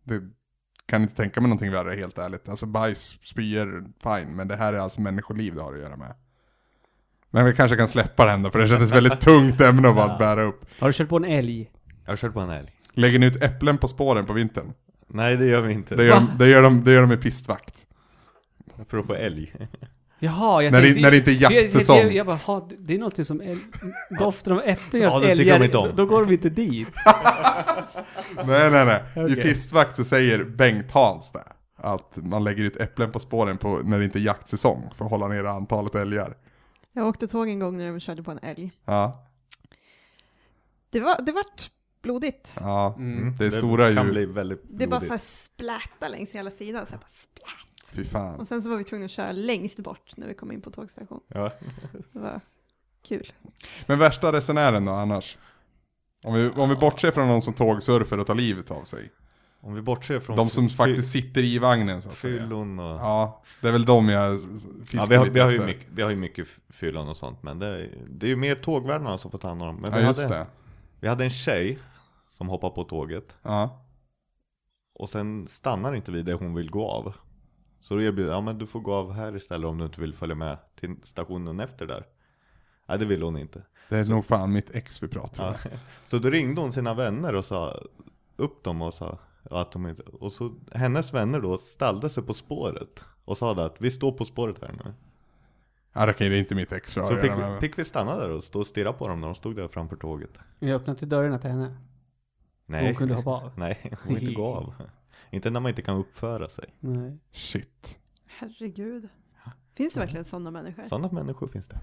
Speaker 1: Det kan inte tänka mig någonting värre helt ärligt. Alltså bajs, spyor, fine. Men det här är alltså människoliv det har att göra med. Men vi kanske kan släppa det ändå för det kändes väldigt tungt ämne att bara bära upp.
Speaker 2: Har du kört på en älg?
Speaker 3: Jag har kört på en älg.
Speaker 1: Lägger ni ut äpplen på spåren på vintern?
Speaker 3: Nej, det gör vi inte.
Speaker 1: Det gör, de, det gör, de, det gör de med pistvakt.
Speaker 3: För att få älg.
Speaker 1: Mm,
Speaker 2: Jaha, jag
Speaker 1: När det-
Speaker 2: tänkte...
Speaker 1: när det inte är
Speaker 2: jag- jag-
Speaker 1: jaktsäsong.
Speaker 2: Jag, jag, bara, ha, det är någonting som älg, doften av äpplen gör
Speaker 3: Ja,
Speaker 2: att
Speaker 3: det tycker
Speaker 2: älgar-
Speaker 3: de inte om.
Speaker 2: Då, då går de inte dit.
Speaker 1: Nej, nej, nej. I
Speaker 2: Okej.
Speaker 1: pistvakt så säger Bengt Hans det. Att man lägger ut äpplen på spåren på, när det inte är jaktsäsong för att hålla nere antalet älgar.
Speaker 4: Jag åkte tåg en gång när jag körde på en älg.
Speaker 1: Ja,
Speaker 4: Det var, det vart blodigt.
Speaker 1: ja.
Speaker 2: Mm.
Speaker 1: Det är stora
Speaker 3: kan
Speaker 1: djur.
Speaker 3: bli väldigt
Speaker 4: Det bara
Speaker 3: blodigt.
Speaker 4: såhär spläta längs hela sidan. Så här bara splät.
Speaker 1: Fy fan.
Speaker 4: Och sen så var vi tvungna att köra längst bort när vi kom in på tågstation.
Speaker 3: Ja.
Speaker 4: Det var kul.
Speaker 1: Men värsta resenären då annars? Om vi, om vi bortser från någon som tågsurfar och tar livet av sig.
Speaker 3: Om vi bortser från
Speaker 1: De som
Speaker 3: fy-
Speaker 1: faktiskt sitter i vagnen så att säga.
Speaker 3: fyllon och... Ja,
Speaker 1: Ja, det är väl de jag fiskar
Speaker 3: vi, har,
Speaker 1: lite
Speaker 3: vi, har ju
Speaker 1: efter.
Speaker 3: mycket, vi har ju mycket f- fyllon och sånt, men det är, det är ju mer tågvärdarna som får ta hand om dem. Men
Speaker 1: Ja,
Speaker 3: vi,
Speaker 1: just
Speaker 3: hade,
Speaker 1: det.
Speaker 3: vi hade en tjej som hoppade på tåget
Speaker 1: Ja.
Speaker 3: och sen stannar inte vi där hon vill gå av. Så då erbjuder ja men du får gå av här istället om du inte vill följa med till stationen efter där. Nej, det ville hon inte.
Speaker 1: Det är nog fan mitt ex vi pratar om.
Speaker 3: Ja. Så då ringde hon sina vänner och sa upp dem och sa att de inte... Och så hennes vänner då ställde sig på spåret och sa det att vi står på spåret här nu.
Speaker 1: Ja, det kan ju- det är inte mitt ex vi har
Speaker 3: Så
Speaker 1: att
Speaker 3: fick,
Speaker 1: göra med.
Speaker 3: fick vi stanna där och stå och stirra på dem när de stod där framför tåget.
Speaker 2: Jag öppnade inte dörrarna till henne.
Speaker 3: Nej,
Speaker 2: Hon kunde hoppa av.
Speaker 3: nej, hon inte gå av. Inte när man inte kan uppföra sig.
Speaker 2: Nej.
Speaker 1: Shit.
Speaker 4: Herregud. Finns det verkligen sådana människor?
Speaker 3: Sådana människor finns det.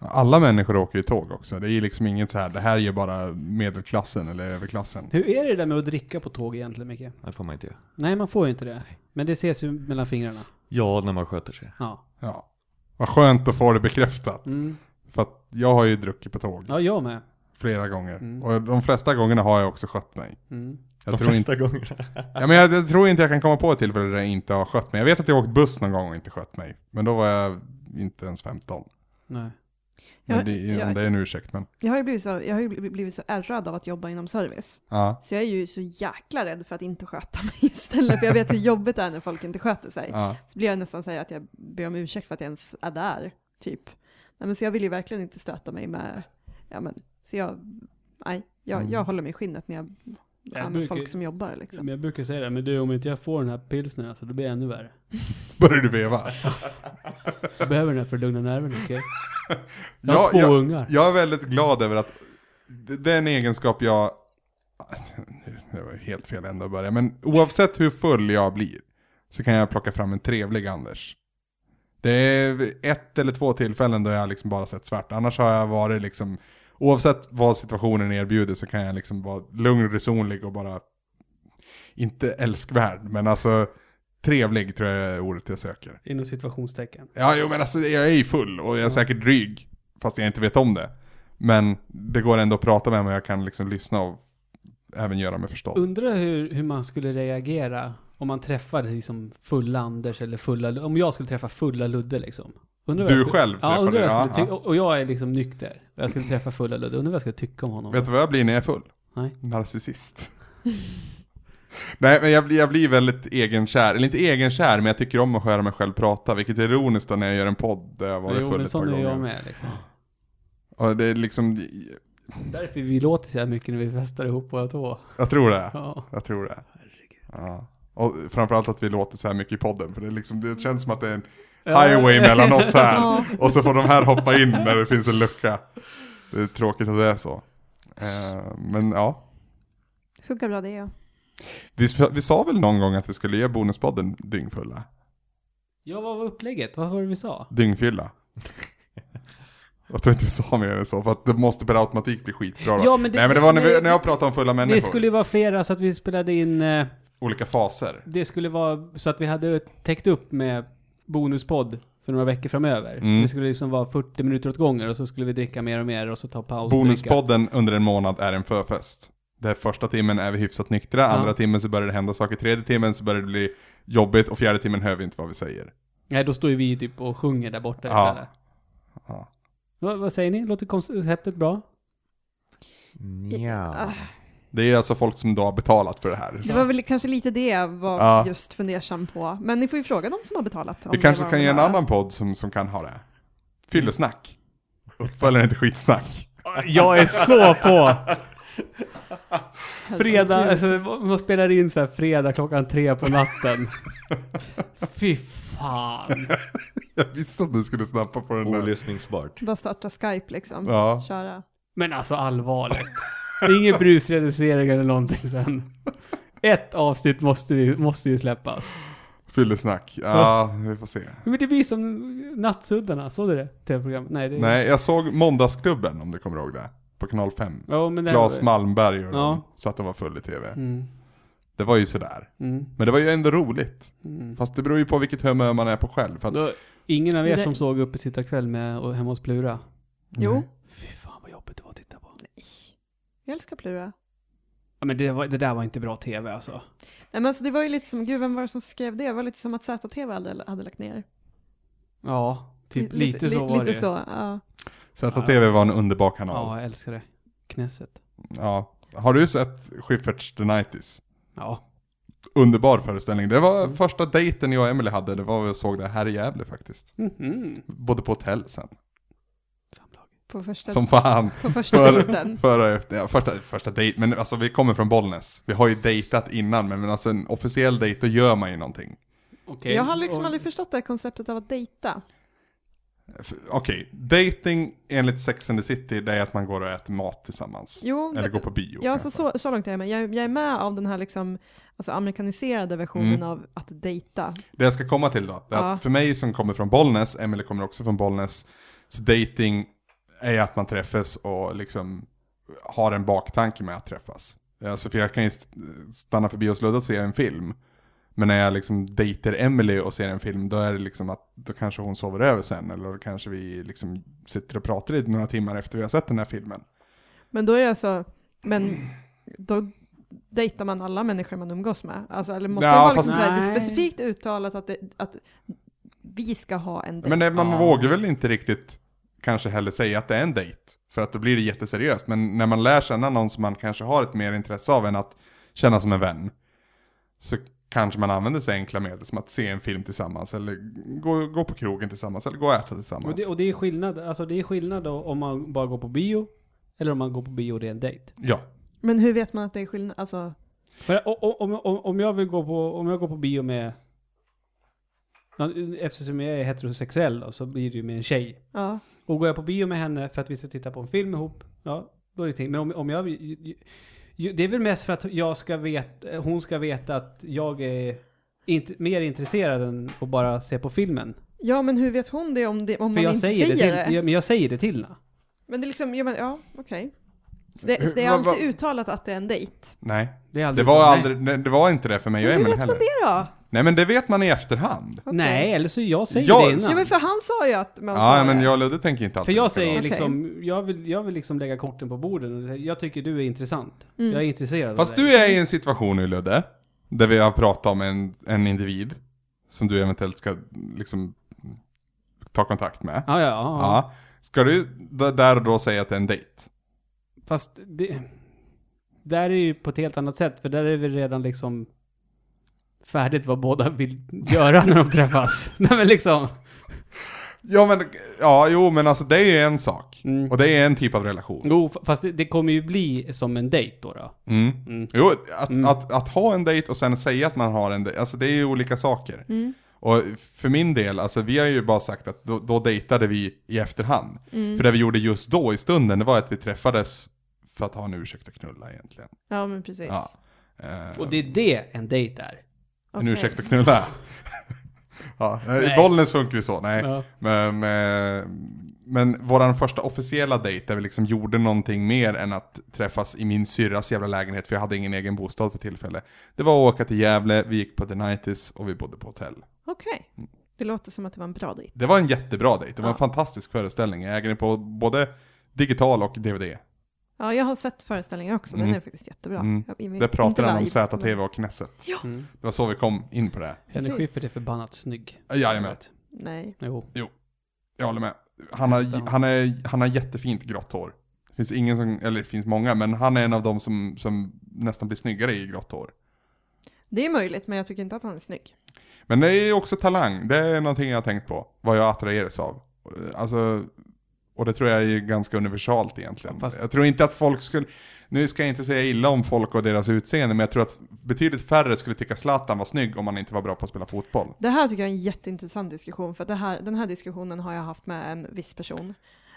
Speaker 1: Alla människor åker ju tåg också. Det är ju liksom inget så här, det här är ju bara medelklassen eller överklassen.
Speaker 2: Hur är det där med att dricka på tåg egentligen, Micke?
Speaker 3: Det får man inte göra.
Speaker 2: Nej, man får ju inte det. Men det ses ju mellan fingrarna.
Speaker 3: Ja, när man sköter sig.
Speaker 2: Ja.
Speaker 1: Ja. Vad skönt att få det bekräftat.
Speaker 2: Mm.
Speaker 1: För att jag har ju druckit på tåg
Speaker 2: Ja, jag med.
Speaker 1: flera gånger.
Speaker 2: Mm.
Speaker 1: Och de flesta gångerna har jag också skött mig.
Speaker 2: Mm.
Speaker 1: Jag,
Speaker 3: De
Speaker 1: tror,
Speaker 3: flesta
Speaker 1: inte,
Speaker 3: gångerna.
Speaker 1: ja, men jag, jag tror inte jag kan komma på ett tillfälle där jag inte har skött mig. Jag vet att jag åkt buss någon gång och inte skött mig. Men då var jag inte ens 15.
Speaker 2: Nej.
Speaker 1: Men
Speaker 4: Jag-
Speaker 1: det, är-
Speaker 4: jag-
Speaker 1: det är en ursäkt men.
Speaker 4: Jag har ju blivit så, jag har ju bli- blivit så ärrad av att jobba inom service.
Speaker 1: Ja,
Speaker 4: Så jag är ju så jäkla rädd för att inte sköta mig istället. För jag vet hur jobbigt det är när folk inte sköter sig.
Speaker 1: ja.
Speaker 4: Så blir jag nästan säga att jag ber om ursäkt för att jag ens är där, typ. Nej, men så jag vill ju verkligen inte stöta mig med, ja men, så jag, nej, jag,
Speaker 1: Mm.
Speaker 4: jag håller mig i skinnet när jag, ja, men
Speaker 2: brukar-
Speaker 4: folk som jobbar liksom.
Speaker 2: Men jag brukar säga det, men du om inte jag får den här pilsnern alltså, då blir det ännu värre.
Speaker 1: Börjar du veva?
Speaker 2: Jag behöver den här för att lugna nerverna, okej? Jag har
Speaker 1: Ja,
Speaker 2: två
Speaker 1: jag-
Speaker 2: ungar.
Speaker 1: Jag är väldigt glad över att det det är en egenskap jag... Det var ju helt fel ända att börja, men oavsett hur full jag blir så kan jag plocka fram en trevlig Anders. Det är ett eller två tillfällen då jag liksom bara sett svart. Annars har jag varit liksom, oavsett vad situationen erbjuder så kan jag liksom vara lugn och resonlig och bara, inte älskvärd, men alltså trevlig tror jag är ordet jag söker.
Speaker 2: Inom situationstecken.
Speaker 1: Ja, jo, men alltså jag är ju full och jag är säkert dryg. Fast jag inte vet om det. Men det går ändå att prata med mig och jag kan liksom lyssna och även göra mig förstådd.
Speaker 2: Undrar hur, hur man skulle reagera om man träffade liksom fulla Anders eller fulla... Om jag skulle träffa fulla Ludde liksom. Undrar vad
Speaker 1: Du
Speaker 2: jag skulle,
Speaker 1: själv
Speaker 2: Ja,
Speaker 1: träffade-
Speaker 2: undrar vad
Speaker 1: ja,
Speaker 2: jag skulle tycka.
Speaker 1: ja.
Speaker 2: Och, och jag är liksom nykter. Och jag skulle träffa fulla Ludde. Undrar vad jag skulle tycka om honom.
Speaker 1: Vet du vad jag blir när jag är full?
Speaker 2: Nej.
Speaker 1: Narcissist. Nej, men jag, blir- jag blir väldigt egenkär. Eller inte egenkär, men jag tycker om att höra mig själv prata. Vilket är ironiskt då när jag gör en podd där jag har varit
Speaker 2: Jo,
Speaker 1: full
Speaker 2: men
Speaker 1: ett par
Speaker 2: sån är jag
Speaker 1: gånger.
Speaker 2: med liksom.
Speaker 1: Och det är liksom,
Speaker 2: Därför vi låter så här mycket när vi festar ihop båda två.
Speaker 1: Jag tror det.
Speaker 2: Ja.
Speaker 1: Jag tror det. Ja. Och framförallt att vi låter så här mycket i podden, för det, är liksom, det känns som att det är en highway mellan oss här.
Speaker 4: Ja.
Speaker 1: Och så får de här hoppa in när det finns en lucka. Det är tråkigt att det är så. Eh, Men ja,
Speaker 4: Funkar bra det ja.
Speaker 1: vi, vi sa väl någon gång att vi skulle ge bonuspodden dyngfulla?
Speaker 2: Ja, vad var upplägget? Vad var det vi sa?
Speaker 1: Dyngfylla. Jag tror inte vi sa mer än så, för att det måste per automatik bli skitbra då.
Speaker 2: Ja, men det-
Speaker 1: Nej men det var när, vi,
Speaker 2: det-
Speaker 1: när jag pratade om fulla människor.
Speaker 2: Det skulle ju vara flera så att vi spelade in, eh,
Speaker 1: Olika faser.
Speaker 2: det skulle vara så att vi hade täckt upp med bonuspodd för några veckor framöver.
Speaker 1: Mm.
Speaker 2: Det skulle liksom vara 40 minuter åt gånger och så skulle vi dricka mer och mer och så ta paus. och dricka.
Speaker 1: Bonuspodden under en månad är en förfest. Där första timmen är vi hyfsat nyktra, andra timmen så börjar det hända saker, tredje timmen så börjar det bli jobbigt och fjärde timmen hör vi inte vad vi säger.
Speaker 2: Nej, då står ju vi typ och sjunger där borta
Speaker 1: Ja.
Speaker 2: istället.
Speaker 1: Ja.
Speaker 2: Va, vad säger ni? Låter konceptet bra?
Speaker 3: Nja.
Speaker 1: Det är alltså folk som då har betalat för det här.
Speaker 4: Det var väl kanske lite det jag var
Speaker 1: Ja.
Speaker 4: just fundersam på. Men ni får ju fråga de som har betalat. om
Speaker 1: Vi
Speaker 4: det
Speaker 1: kanske
Speaker 4: var
Speaker 1: kan
Speaker 4: de
Speaker 1: ge en
Speaker 4: där.
Speaker 1: annan podd som, som kan ha det. Fyllesnack. Uppföljaren heter skitsnack.
Speaker 2: Jag är så på!
Speaker 4: Herregud.
Speaker 2: Fredag, alltså, man spelar in så här fredag klockan tre på natten. Fy fan.
Speaker 1: Jag visste att du skulle snappa på den där.
Speaker 3: Olyssningsbart.
Speaker 4: Bara starta Skype liksom.
Speaker 1: Ja. Mm.
Speaker 4: Köra.
Speaker 2: Men alltså allvarligt. Det är ingen brusreducering eller någonting sen. Ett avsnitt måste, vi, måste ju släppas.
Speaker 1: Fyllesnack. Ja, vi får se.
Speaker 2: Men det blir som Nattsuddarna, såg du det? Tv-programmet? Nej, det är...
Speaker 1: Nej, jag såg Måndagsklubben om du kommer ihåg det. På kanal 5.
Speaker 2: Ja, men det...
Speaker 1: Claes Malmberg och
Speaker 2: Ja.
Speaker 1: ja. så att de var full i tv.
Speaker 2: Mm,
Speaker 1: Det var ju sådär.
Speaker 2: mm,
Speaker 1: Men det var ju ändå roligt.
Speaker 2: mm.
Speaker 1: Fast det beror ju på vilket humör man är på själv. För att,
Speaker 2: Då, ingen av er
Speaker 4: Det-
Speaker 2: som såg Uppe sitta kväll med och hemma hos Plura?
Speaker 4: Jo,
Speaker 2: Fy fan vad jobbigt det var att titta på.
Speaker 4: jag älskar Plura.
Speaker 2: Ja, men det, var, det där var inte bra tv alltså.
Speaker 4: Nej men alltså det var ju lite som, gud vem var det som skrev det? Det var lite som att ZTV hade, hade lagt ner.
Speaker 2: Ja, typ
Speaker 4: Li-
Speaker 2: lite, så
Speaker 4: li-
Speaker 2: var det
Speaker 4: Lite
Speaker 2: ju.
Speaker 4: så, ja.
Speaker 1: Zeta TV var en underbar kanal.
Speaker 2: Ja, jag älskar det. Knässet.
Speaker 1: Ja. Har du sett Schyfferts The Nighties?
Speaker 2: Ja.
Speaker 1: Underbar föreställning. Det var
Speaker 4: Mm.
Speaker 1: första dejten jag och Emily hade. Det var vi såg det här i Gävle faktiskt.
Speaker 2: Mhm.
Speaker 1: Både på hotell sen.
Speaker 2: Samlag.
Speaker 4: På första,
Speaker 1: Som fan.
Speaker 4: på första
Speaker 1: För-
Speaker 4: dejten.
Speaker 1: Före och efter, ja, första, första dejt, men alltså vi kommer från Bollnäs. Vi har ju dejtat innan, men, men alltså en officiell dejt, då gör man ju någonting.
Speaker 2: Okej.
Speaker 4: Jag har liksom
Speaker 2: Och-
Speaker 4: aldrig förstått det här konceptet av att dejta.
Speaker 1: F- Okej, dating enligt Sex and the City, det är att man går och äter mat tillsammans.
Speaker 4: Jo,
Speaker 1: Eller
Speaker 4: det-
Speaker 1: går på bio.
Speaker 4: Ja, alltså
Speaker 1: kanske.
Speaker 4: så, så långt är jag med. Jag, jag är med av den här liksom, alltså amerikaniserade versionen
Speaker 1: Mm.
Speaker 4: av att dejta.
Speaker 1: Det jag ska komma till då, det är
Speaker 4: Ja.
Speaker 1: att för mig som kommer från Bollnäs, Emily kommer också från Bollnäs, så dating är att man träffas och liksom har en baktanke med att träffas. Alltså för jag kan ju st- stanna förbi och sludda och se en film. Men när jag liksom dejter Emily och ser en film, då är det liksom att då kanske hon sover över sen, eller då kanske vi liksom sitter och pratar i några timmar efter vi har sett den här filmen.
Speaker 4: Men då är det alltså, men då dejtar man alla människor man umgås med. Alltså, eller måste
Speaker 1: Ja,
Speaker 4: det vara
Speaker 1: fast-
Speaker 4: liksom så här, det är
Speaker 2: Nej.
Speaker 4: specifikt uttalat att, det, att vi ska ha en dejt.
Speaker 1: Men det, man
Speaker 2: Ja.
Speaker 1: vågar väl inte riktigt kanske heller säga att det är en dejt. För att då blir det jätteseriöst. Men när man lär känna någon som man kanske har ett mer intresse av än att känna som en vän. Så kanske man använder sig av enkla medel som att se en film tillsammans. Eller gå, gå på krogen tillsammans. Eller gå och äta tillsammans.
Speaker 2: Och det, och det är skillnad, alltså det är skillnad då om man bara går på bio, eller om man går på bio och det är en dejt.
Speaker 1: Ja.
Speaker 4: Men hur vet man att det är skillnad? Alltså,
Speaker 2: För o- o- om, om, om jag vill gå på, om jag går på bio med, Ja, eftersom jag är heterosexuell då, så blir det ju med en tjej.
Speaker 4: ja.
Speaker 2: Och går jag på bio med henne för att vi ska titta på en film ihop, ja, då är det ting. Men om, om jag, ju- ju- ju- det är väl mest för att jag ska veta, hon ska veta att jag är inte, mer intresserad än att bara se på filmen.
Speaker 4: Ja, men hur vet hon det om, det, om
Speaker 2: För
Speaker 4: man
Speaker 2: jag
Speaker 4: inte
Speaker 2: säger, det till,
Speaker 4: det?
Speaker 2: Ja, men jag säger det till henne.
Speaker 4: Men det är liksom, ja, men- ja okej. Så det,
Speaker 1: Hur-
Speaker 4: så det är
Speaker 1: vad- vad-
Speaker 4: alltid uttalat att det är en dejt.
Speaker 1: Nej.
Speaker 2: Det, är
Speaker 1: Det
Speaker 2: aldrig-
Speaker 1: var,
Speaker 2: Nej.
Speaker 1: aldrig, nej, det var inte det för mig och
Speaker 4: Men hur
Speaker 1: Emil
Speaker 4: vet
Speaker 1: heller.
Speaker 4: man det då?
Speaker 1: Nej men det vet man i efterhand.
Speaker 4: Okej.
Speaker 2: Nej, eller så jag säger
Speaker 1: Jag-
Speaker 2: det
Speaker 4: Jo,
Speaker 2: innan.
Speaker 4: men för han sa ju att man sa
Speaker 1: Ja men
Speaker 4: det.
Speaker 1: jag och Ludde tänker inte
Speaker 2: För
Speaker 1: alltid
Speaker 2: jag
Speaker 1: likadant.
Speaker 2: säger
Speaker 4: Okej.
Speaker 2: liksom, jag vill, jag vill liksom lägga korten på borden. och säga, Jag tycker du är intressant.
Speaker 4: Mm.
Speaker 2: Jag är intresserad
Speaker 1: Fast
Speaker 2: av dig.
Speaker 1: du är i en situation nu Ludde, där vi har pratat om en, en individ som du eventuellt ska liksom ta kontakt med.
Speaker 2: Ja, ja, ja. ja.
Speaker 1: Ja. Ska du d- där och då säga att det är en dejt?
Speaker 2: Fast det... Där är ju på ett helt annat sätt, för där är vi redan liksom färdigt vad båda vill göra när de träffas. Nej men liksom.
Speaker 1: Ja men, ja jo men alltså det är ju en sak. sak.
Speaker 2: Mm.
Speaker 1: Och det är en typ av relation.
Speaker 2: Jo, f- fast det, det kommer ju bli som en dejt då. då.
Speaker 1: Mm.
Speaker 2: Mm.
Speaker 1: Jo, att,
Speaker 2: Mm.
Speaker 1: att, att ha en dejt och sen säga att man har en dejt, alltså det är ju olika saker.
Speaker 4: Mm.
Speaker 1: Och för min del, alltså vi har ju bara sagt att då, då dejtade vi i efterhand.
Speaker 4: Mm.
Speaker 1: För det vi gjorde just då i stunden, det var att vi träffades för att ha en ursäkt att knulla egentligen.
Speaker 4: Ja, men precis.
Speaker 1: Ja. Eh,
Speaker 2: Och det är det en dejt är.
Speaker 1: En
Speaker 4: Okej.
Speaker 1: ursäkt att knulla. ja, I
Speaker 2: Nej.
Speaker 1: Bollnäs funkar ju så, nej.
Speaker 2: Ja.
Speaker 1: Men, eh, men vår första officiella dejt där vi liksom gjorde någonting mer än att träffas i min syrras jävla lägenhet, för jag hade ingen egen bostad för tillfället. Det var att åka till Gävle, vi gick på The Nighties och vi bodde på hotell.
Speaker 4: Okej. Det låter som att det var en bra dejt.
Speaker 1: Det var en jättebra dejt, det var en
Speaker 4: Ja.
Speaker 1: fantastisk föreställning. Jag äger den på både digital och DVD.
Speaker 4: Ja, jag har sett föreställningar också. Den
Speaker 1: Mm.
Speaker 4: är faktiskt jättebra.
Speaker 1: Mm.
Speaker 4: Jag- i-
Speaker 1: Där
Speaker 4: inte
Speaker 1: pratade han om
Speaker 4: live,
Speaker 1: ZTV och Knesset.
Speaker 2: Mm.
Speaker 1: Det var så vi kom in på det.
Speaker 2: Henrik
Speaker 4: Precis.
Speaker 2: Schyffert är förbannat snygg.
Speaker 1: Ja, Jajamän,
Speaker 4: men- Nej.
Speaker 2: Jo.
Speaker 1: jag håller med. Han har,
Speaker 2: Stämmer.
Speaker 1: han är, han har jättefint grått hår. Det finns ingen som, eller det finns många, men han är en av de som, som nästan blir snyggare i grått hår.
Speaker 4: Det är möjligt, men jag tycker inte att han är snygg.
Speaker 1: Men det är ju också talang, det är någonting jag har tänkt på. Vad jag attraheras av. Alltså, och det tror jag är ganska universalt egentligen.
Speaker 2: Fast-
Speaker 1: Jag tror inte att folk skulle, nu ska jag inte säga illa om folk och deras utseende, men jag tror att betydligt färre skulle tycka Zlatan var snygg om han inte var bra på att spela fotboll.
Speaker 4: Det här tycker jag är en jätteintressant diskussion, för att det här, den här diskussionen har jag haft med en viss person.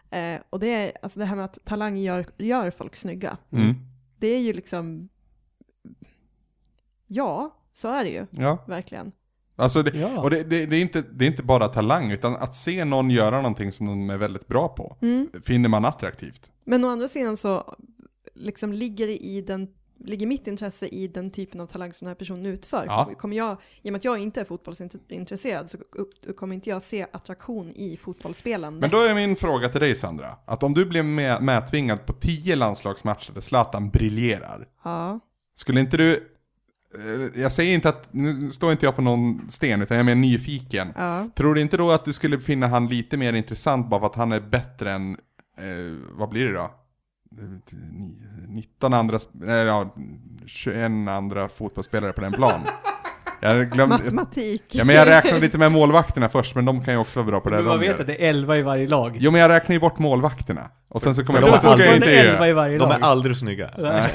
Speaker 4: Eh, och det är alltså det här med att talang gör, gör folk snygga.
Speaker 1: Mm.
Speaker 4: Det är ju liksom... Ja, så är det ju,
Speaker 1: Ja,
Speaker 4: verkligen.
Speaker 1: alltså det,
Speaker 2: Ja.
Speaker 1: och det, det, det, är inte, det är inte bara talang, utan att se någon göra någonting som de är väldigt bra på,
Speaker 4: Mm.
Speaker 1: finner man attraktivt.
Speaker 4: Men å andra sidan så liksom ligger, det i den, ligger mitt intresse i den typen av talang som den här personen utför.
Speaker 1: Ja.
Speaker 4: Kommer jag, I och med att jag inte är fotbollsintresserad så upp, kommer inte jag se attraktion i fotbollsspelande.
Speaker 1: Men då är min fråga till dig Sandra, att om du blev med, medtvingad på 10 landslagsmatcher där Zlatan briljerar,
Speaker 4: Ja.
Speaker 1: Skulle inte du... eh, Jag säger inte att... Nu står inte jag på någon sten, utan jag är mer nyfiken.
Speaker 4: ja.
Speaker 1: Tror du inte då att du skulle finna han lite mer intressant bara för att han är bättre än... Eh, vad blir det då? Eh, ni- 19 andra... sp- Nej, ja, 21 andra fotbollsspelare på den plan. Jag glömde...
Speaker 4: Matematik.
Speaker 1: Ja, men jag räknade lite med målvakterna först, men de kan ju också vara bra på det
Speaker 2: Men man
Speaker 1: de
Speaker 2: vet
Speaker 1: gör.
Speaker 2: att det är 11 i varje lag.
Speaker 1: Jo, men jag räknar ju bort målvakterna. Och sen så kommer
Speaker 3: För
Speaker 1: jag på
Speaker 3: de
Speaker 1: att det ska
Speaker 3: är
Speaker 1: jag inte
Speaker 2: Fortfarande
Speaker 1: göra.
Speaker 2: 11 i varje
Speaker 3: De
Speaker 2: lag.
Speaker 3: är aldrig snygga.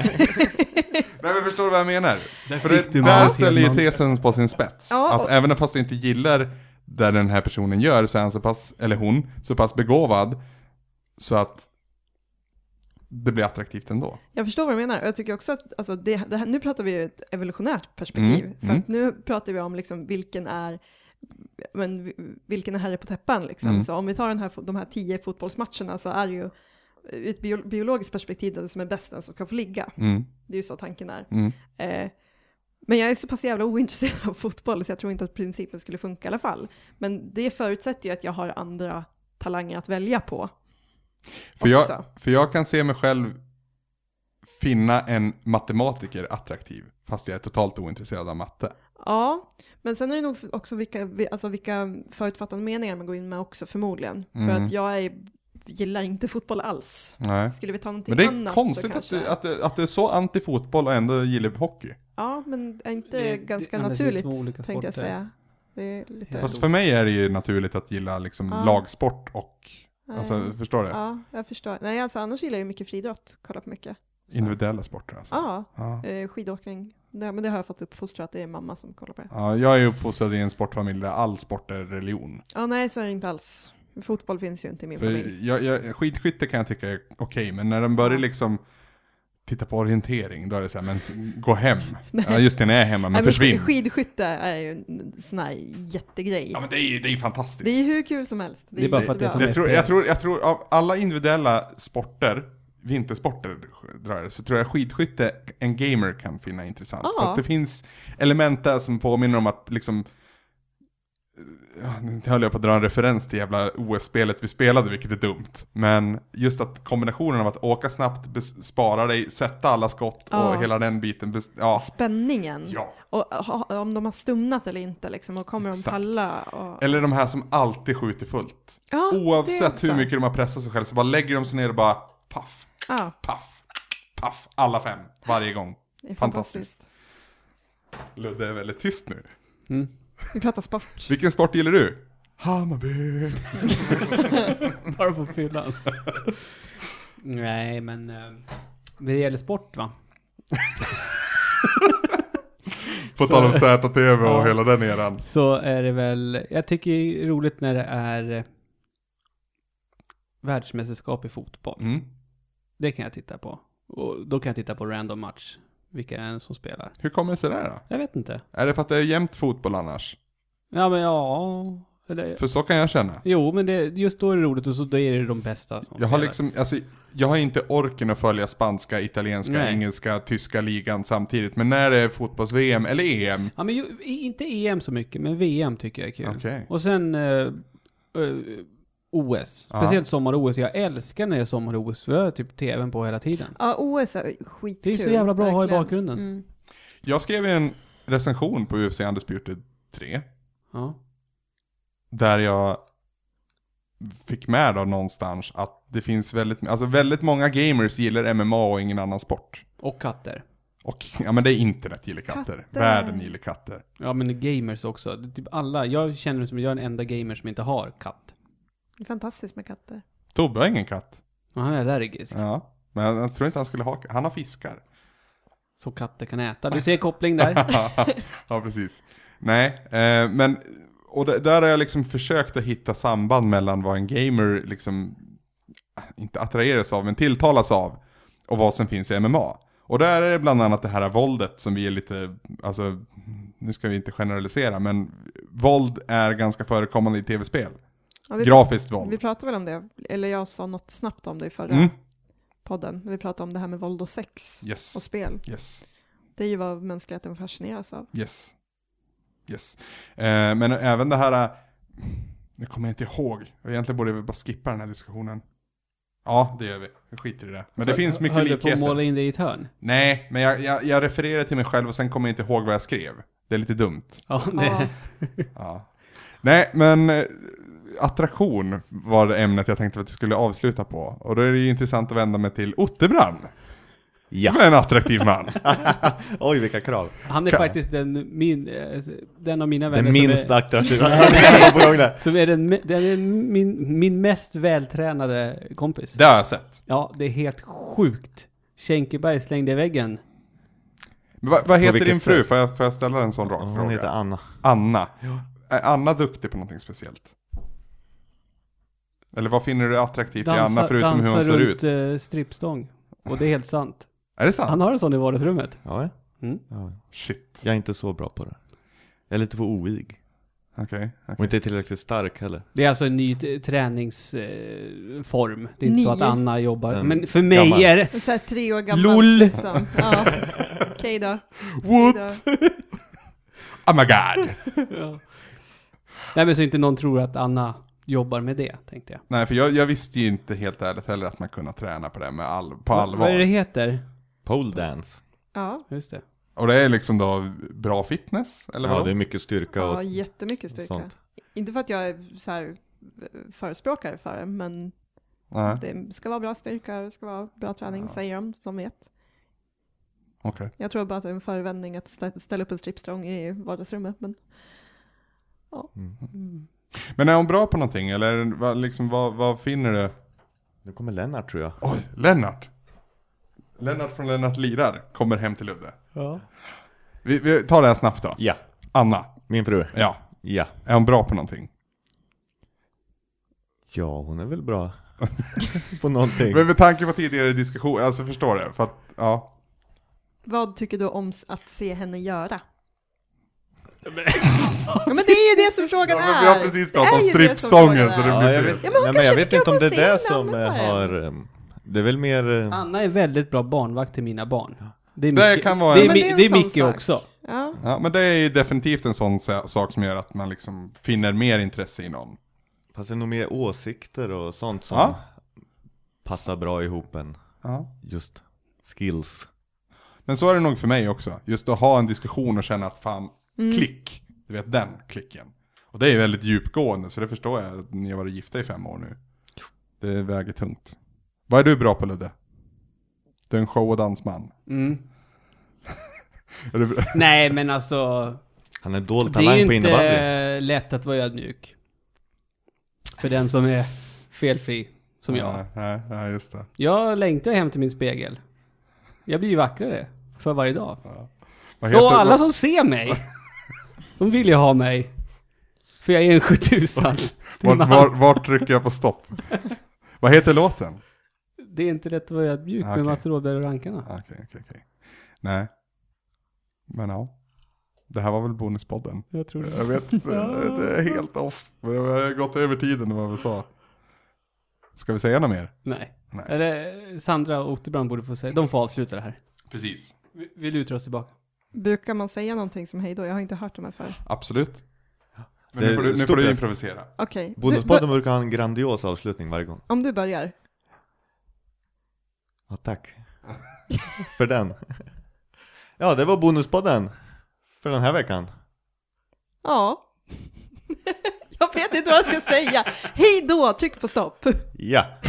Speaker 1: Nej men förstår du vad jag menar?
Speaker 2: Där
Speaker 1: För
Speaker 2: fick
Speaker 1: det,
Speaker 2: du
Speaker 1: där
Speaker 2: Magnus
Speaker 1: ställer ju
Speaker 2: Hedman.
Speaker 1: tesen på sin spets.
Speaker 4: Ja,
Speaker 1: att
Speaker 4: och-
Speaker 1: även fast du inte gillar där den här personen gör så är han så pass, eller hon, så pass begåvad så att det blir attraktivt ändå.
Speaker 4: Jag förstår vad du menar. Och jag tycker också att alltså, det, det här, nu pratar vi ur ett evolutionärt perspektiv.
Speaker 1: Mm,
Speaker 4: För
Speaker 1: mm.
Speaker 4: att nu pratar vi om liksom, vilken är men, vi- vilken är herre på täppan. Liksom.
Speaker 1: Mm.
Speaker 4: Så om vi tar den här, fo- de här tio fotbollsmatcherna så är det ju eh, ur ett bio, biologiskt perspektiv den som är bäst den som ska få ligga.
Speaker 1: Mm,
Speaker 4: Det är ju så tanken är.
Speaker 1: mm.
Speaker 4: Eh, men jag är så pass jävla ointresserad av fotboll så jag tror inte att principen skulle funka i alla fall. Men det förutsätter ju att jag har andra talanger att välja på.
Speaker 1: För, jag,
Speaker 4: Också.
Speaker 1: för jag kan se mig själv finna en matematiker attraktiv fast jag är totalt ointresserad av matte.
Speaker 4: Ja, men sen är det nog också vilka, vi- alltså vilka förutfattade meningar man går in med också förmodligen. För
Speaker 1: Mm.
Speaker 4: att jag är, gillar inte fotboll alls.
Speaker 1: Nej.
Speaker 4: Skulle vi ta någonting
Speaker 1: Men det är
Speaker 4: annat
Speaker 1: konstigt
Speaker 4: så
Speaker 1: att
Speaker 4: kanske...
Speaker 1: du, att, du, att du är så anti fotboll och ändå gillar hockey.
Speaker 4: Ja, men är inte
Speaker 2: Det- det-
Speaker 4: ganska
Speaker 2: ja, men det är
Speaker 4: naturligt
Speaker 2: två olika
Speaker 4: tänkte jag
Speaker 2: sporter.
Speaker 4: säga. Det är lite...
Speaker 2: Ja.
Speaker 1: Fast för mig är det ju naturligt att gilla liksom
Speaker 4: Eh, Ja.
Speaker 1: lagsport och,
Speaker 4: Nej.
Speaker 1: alltså förstår du?
Speaker 4: Ja, jag förstår. Nej, alltså annars gillar jag ju mycket friidrott. Kollar på mycket.
Speaker 1: Individuella sporter alltså.
Speaker 4: Ja,
Speaker 1: Ja.
Speaker 4: eh, skidåkning. Det, men det har jag fått uppfostrat. Det är mamma som kollar på det.
Speaker 1: Ja, jag är uppfostrad i en sportfamilj där all sport är religion.
Speaker 4: Ja, nej så är det inte alls. Fotboll finns ju inte i min familj.
Speaker 1: För jag, jag, skidskytte kan jag tycka är okej, men när de börjar liksom titta på orientering, då är det så här, men s- gå hem. Ja, just det, när jag är hemma, men
Speaker 4: Nej,
Speaker 1: försvinn.
Speaker 4: Skidskytte är ju en sån här jättegrej.
Speaker 1: Ja, men det är ju det är ju fantastiskt.
Speaker 4: Det är ju hur kul som helst.
Speaker 2: Det är bara för att
Speaker 4: jättebra.
Speaker 2: det är som
Speaker 1: jag, tror, jag,
Speaker 2: FPS.
Speaker 1: tror, jag tror av alla individuella sporter, vintersporter drar jag, så tror jag skidskytte en gamer kan finna intressant.
Speaker 4: Ja.
Speaker 1: För att det finns element där som påminner om att liksom Ja, Nu höll jag på att dra en referens till jävla OS-spelet vi spelade, vilket är dumt. Men just att kombinationen av att åka snabbt, bes- spara dig, sätta alla skott
Speaker 4: Ja. Mm.
Speaker 1: och hela den biten. bes- Ja.
Speaker 4: Spänningen.
Speaker 1: ja.
Speaker 4: Och ha, om de har stumnat eller inte liksom. Och kommer de
Speaker 1: Exakt.
Speaker 4: palla. Och...
Speaker 1: Eller de här som alltid skjuter fullt.
Speaker 4: Ja, det
Speaker 1: Oavsett
Speaker 4: också.
Speaker 1: hur mycket de har pressat sig själv så bara lägger de sig ner och bara paff.
Speaker 4: Ja,
Speaker 1: Paff, paff, alla fem, varje gång.
Speaker 4: det är
Speaker 1: Fantastiskt.
Speaker 4: fantastiskt.
Speaker 1: Ludde är väldigt tyst nu.
Speaker 2: Mm.
Speaker 4: Vi pratar sport.
Speaker 1: Vilken sport gillar du? Hammarby.
Speaker 2: Bara på fyllan. Nej, men eh, när det gäller sport va?
Speaker 1: På tal om ZTV och
Speaker 2: Ja.
Speaker 1: hela den eran.
Speaker 2: Så är det väl, jag tycker det är roligt när det är eh, världsmästerskap i fotboll.
Speaker 1: Mm.
Speaker 2: Det kan jag titta på. Och då kan jag titta på random match. Vilka det är som spelar.
Speaker 1: Hur kommer det sig där då?
Speaker 2: Jag vet inte.
Speaker 1: Är det för att det är jämnt fotboll annars?
Speaker 2: Ja, men ja. Eller,
Speaker 1: För så kan jag känna.
Speaker 2: jo, men det, just då är det roligt och så då är det de bästa som
Speaker 1: Jag har
Speaker 2: spelar.
Speaker 1: liksom, alltså, jag har inte orken att följa spanska, italienska,
Speaker 2: Nej.
Speaker 1: engelska, tyska ligan samtidigt. Men när det är fotbolls-VM eller E EM.
Speaker 2: Ja, men ju, i- inte EM så mycket, men VM tycker jag är kul.
Speaker 1: Okej.
Speaker 2: Och sen eh, eh, OS.
Speaker 1: Ja.
Speaker 2: Speciellt sommar-OS. Jag älskar när det är sommar-OS, för jag har typ tvn på hela tiden.
Speaker 4: Ja, OS är skitkul.
Speaker 2: Det är så jävla bra att ha i
Speaker 4: verkligen.
Speaker 2: bakgrunden.
Speaker 4: Mm.
Speaker 1: Jag skrev en recension på UFC Undisputed 3.
Speaker 2: Ja.
Speaker 1: Där jag fick med då någonstans att det finns väldigt, alltså väldigt många gamers gillar MMA och ingen annan sport.
Speaker 2: Och katter.
Speaker 1: Och ja men det är internet gillar katter.
Speaker 4: Katter.
Speaker 1: Världen gillar katter.
Speaker 2: Ja, men gamers också. Det är typ alla. Jag känner som jag är den enda gamer som inte har katt.
Speaker 4: Det är fantastiskt med katter.
Speaker 1: Tobbe har ingen katt.
Speaker 2: Och han är allergisk.
Speaker 1: Ja. Men jag tror inte han skulle ha Han har fiskar.
Speaker 2: Så katter kan äta. Du ser koppling där.
Speaker 1: ja, precis. Nej, eh, men och d- där har jag liksom försökt att hitta samband mellan vad en gamer liksom eh, inte attraheras av, men tilltalas av och vad som finns i MMA. Och där är det bland annat det här våldet som vi är lite, alltså, nu ska vi inte generalisera, men våld är ganska förekommande i tv-spel.
Speaker 4: Ja, vi,
Speaker 1: Grafiskt våld.
Speaker 4: vi pratade väl om det, eller jag sa något snabbt om det i förra
Speaker 1: Mm.
Speaker 4: podden, när vi pratade om det här med våld och sex
Speaker 1: Yes,
Speaker 4: och spel.
Speaker 1: yes.
Speaker 4: Det är ju vad mänskligheten fascineras av.
Speaker 1: Yes. Yes. Eh, men även det här, eh, nu kommer jag inte ihåg, egentligen borde vi bara skippa den här diskussionen. Ja, det gör vi. Vi skiter i det. Men det finns mycket
Speaker 2: Höll du på att
Speaker 1: likheter.
Speaker 2: måla in dig i ett hörn?
Speaker 1: Nej, men jag, jag, jag refererar till mig själv och sen kommer jag inte ihåg vad jag skrev. Det är lite dumt.
Speaker 2: Ja,
Speaker 4: Ja.
Speaker 2: det.
Speaker 1: Ja. Nej, men eh, attraktion var det ämnet jag tänkte att vi skulle avsluta på. Och då är det ju intressant att vända mig till Otterbrand.
Speaker 3: Ja.
Speaker 1: Som är en attraktiv man.
Speaker 3: Oj vilka krav!
Speaker 2: Han är
Speaker 1: Kan-
Speaker 2: faktiskt den, min, eh, den av mina vänner
Speaker 3: Den
Speaker 2: som är-
Speaker 3: minst attraktiva Örebroare.
Speaker 2: Som är, den, den är min, min mest vältränade kompis.
Speaker 1: Det har jag sett.
Speaker 2: Ja, det är helt sjukt. Schenkeberg slängde i väggen.
Speaker 1: Men Vad, vad heter
Speaker 3: vilket
Speaker 1: din fru?
Speaker 3: sätt?
Speaker 1: Får jag, får jag ställa en sån rak fråga?
Speaker 3: Hon heter Anna.
Speaker 1: Anna. Är Anna duktig på någonting speciellt? Eller vad finner du attraktivt i Anna förutom hur hon ser
Speaker 2: runt
Speaker 1: ut?
Speaker 2: eh, strippstång. Och det är helt sant.
Speaker 1: Är det sant?
Speaker 2: Han har en sån i vardagsrummet.
Speaker 3: Ja, ja.
Speaker 2: Mm.
Speaker 3: ja.
Speaker 1: Shit.
Speaker 3: Jag är inte så bra på det. Jag är lite för oig.
Speaker 1: Okej.
Speaker 3: Och inte tillräckligt stark heller.
Speaker 2: Det är alltså en ny träningsform. Det är inte så att
Speaker 4: Ny.
Speaker 2: Anna jobbar.
Speaker 3: Mm.
Speaker 2: Men för mig
Speaker 3: Gammal.
Speaker 2: är det...
Speaker 4: En sån här tre år gammal.
Speaker 2: Lol.
Speaker 4: Liksom. Ja. Okej då. What?
Speaker 1: Oh my god!
Speaker 2: Ja. Nej men så inte någon tror att Anna jobbar med det, tänkte jag.
Speaker 1: Nej, för jag, jag visste ju inte helt ärligt heller att man kunde träna på det med all, på
Speaker 2: Vad är det
Speaker 1: allvar.
Speaker 2: heter?
Speaker 3: Pole dance.
Speaker 4: Ja.
Speaker 2: Just det.
Speaker 1: Och det är liksom då bra fitness, eller
Speaker 3: Ja,
Speaker 1: vad?
Speaker 3: det är mycket styrka
Speaker 4: ja,
Speaker 3: och
Speaker 4: jättemycket styrka.
Speaker 3: sånt.
Speaker 4: Inte för att jag är så här eh, förespråkare för det, men
Speaker 1: Nej,
Speaker 4: det ska vara bra styrka, det ska vara bra träning,
Speaker 1: Ja.
Speaker 4: säger de som vet.
Speaker 1: okej.
Speaker 4: Jag tror bara att det är en förevändning att stä- ställa upp en strippstång i vardagsrummet, men
Speaker 3: Mm.
Speaker 1: Men är hon bra på någonting, eller är det- vad, liksom, vad, vad finner du?
Speaker 3: Nu kommer Lennart tror jag.
Speaker 1: Oj, Lennart! Lennart från Lennart Lirar kommer hem till Ludde.
Speaker 2: Ja.
Speaker 1: Vi, vi tar det här snabbt då.
Speaker 3: Ja,
Speaker 1: Anna,
Speaker 3: min fru.
Speaker 1: ja.
Speaker 3: Ja.
Speaker 1: Är hon bra på någonting?
Speaker 3: Ja, hon är väl bra på någonting.
Speaker 1: Men med tanke på tidigare diskussion, alltså förstår det, för att, ja.
Speaker 4: vad tycker du om s- att se henne göra? ja, men det är ju det som
Speaker 1: ja
Speaker 4: frågan
Speaker 1: men
Speaker 4: är!
Speaker 1: vi har precis
Speaker 4: Det är
Speaker 1: pratat om
Speaker 4: ju det som
Speaker 1: strippstången
Speaker 4: frågan
Speaker 1: så
Speaker 4: är.
Speaker 1: det
Speaker 3: Ja,
Speaker 1: blir fel.
Speaker 4: Ja,
Speaker 3: jag vet,
Speaker 4: men hon
Speaker 3: nej, men jag
Speaker 4: kanske
Speaker 3: vet inte om det är
Speaker 4: tycker
Speaker 3: det
Speaker 4: att
Speaker 3: som
Speaker 4: hon ser en annan
Speaker 3: har... ehm, Det är väl mer... eh,
Speaker 2: Anna är väldigt bra barnvakt till mina barn. Det är
Speaker 1: Det
Speaker 2: Micke,
Speaker 1: kan vara
Speaker 2: det
Speaker 1: en-
Speaker 2: är,
Speaker 4: Men
Speaker 2: Mi-
Speaker 4: det är en
Speaker 2: det är
Speaker 4: sån
Speaker 2: Micke
Speaker 4: sak.
Speaker 2: också.
Speaker 4: Ja,
Speaker 1: Ja men det är ju definitivt en sån sa- sak som gör att man liksom finner mer intresse i någon.
Speaker 3: Fast det är nog mer åsikter och sånt som
Speaker 1: Ja.
Speaker 3: passar bra ihop än
Speaker 1: Ja.
Speaker 3: just skills.
Speaker 1: Men så är det nog för mig också, just att ha en diskussion och känna att fan, klick, du vet den klicken. Och det är väldigt djupgående så det förstår jag, att ni har varit gifta i fem år nu. Det väger tungt. Vad är du bra på Ludde? Du är en show och dansman.
Speaker 2: Mm.
Speaker 1: Är du...
Speaker 2: Nej, men alltså...
Speaker 3: Han är dold
Speaker 2: Det är
Speaker 3: talang på
Speaker 2: inte
Speaker 3: innebandy.
Speaker 2: eh, lätt att vara ödmjuk. för den som är felfri som jag.
Speaker 1: Nej, nej, nej, just det.
Speaker 2: Jag längtar hem till min spegel. Jag blir ju vackrare för varje dag.
Speaker 1: Vad
Speaker 2: Och alla
Speaker 1: vad-
Speaker 2: som ser mig, de vill ju ha mig. För jag är en 7000.
Speaker 1: Vart, vart, vart trycker jag på stopp? Vad heter låten?
Speaker 2: Det är inte lätt att vara ödmjuk
Speaker 1: Okej.
Speaker 2: med Mats Rådberg och rankarna.
Speaker 1: Ah, Okej, okej, okej. Nej. Men ja. Det här var väl bonuspodden.
Speaker 2: Jag tror det.
Speaker 1: Jag vet inte, det är helt off. Men Jag har gått över tiden vad vi sa. Ska vi säga något mer?
Speaker 2: Nej.
Speaker 1: Nej.
Speaker 2: Eller Sandra och Otterbrand borde få säga, de får avsluta det här.
Speaker 1: Precis.
Speaker 2: Vi, vi lutar oss tillbaka.
Speaker 4: Brukar man säga någonting som hej då? Jag har inte hört de här förr.
Speaker 1: Absolut. Men
Speaker 3: Det
Speaker 1: nu
Speaker 3: är
Speaker 1: får du, nu
Speaker 3: stort
Speaker 1: får du
Speaker 3: F.
Speaker 1: improvisera.
Speaker 4: Okej. Du-
Speaker 3: Bonuspodden brukar ha en grandios avslutning varje gång.
Speaker 4: bör- Om du börjar.
Speaker 3: Ja, tack. för den. ja, det var Bonuspodden. För den här veckan.
Speaker 4: Ja. jag vet inte vad jag ska säga. Hej då! Tryck på stopp.
Speaker 3: Ja.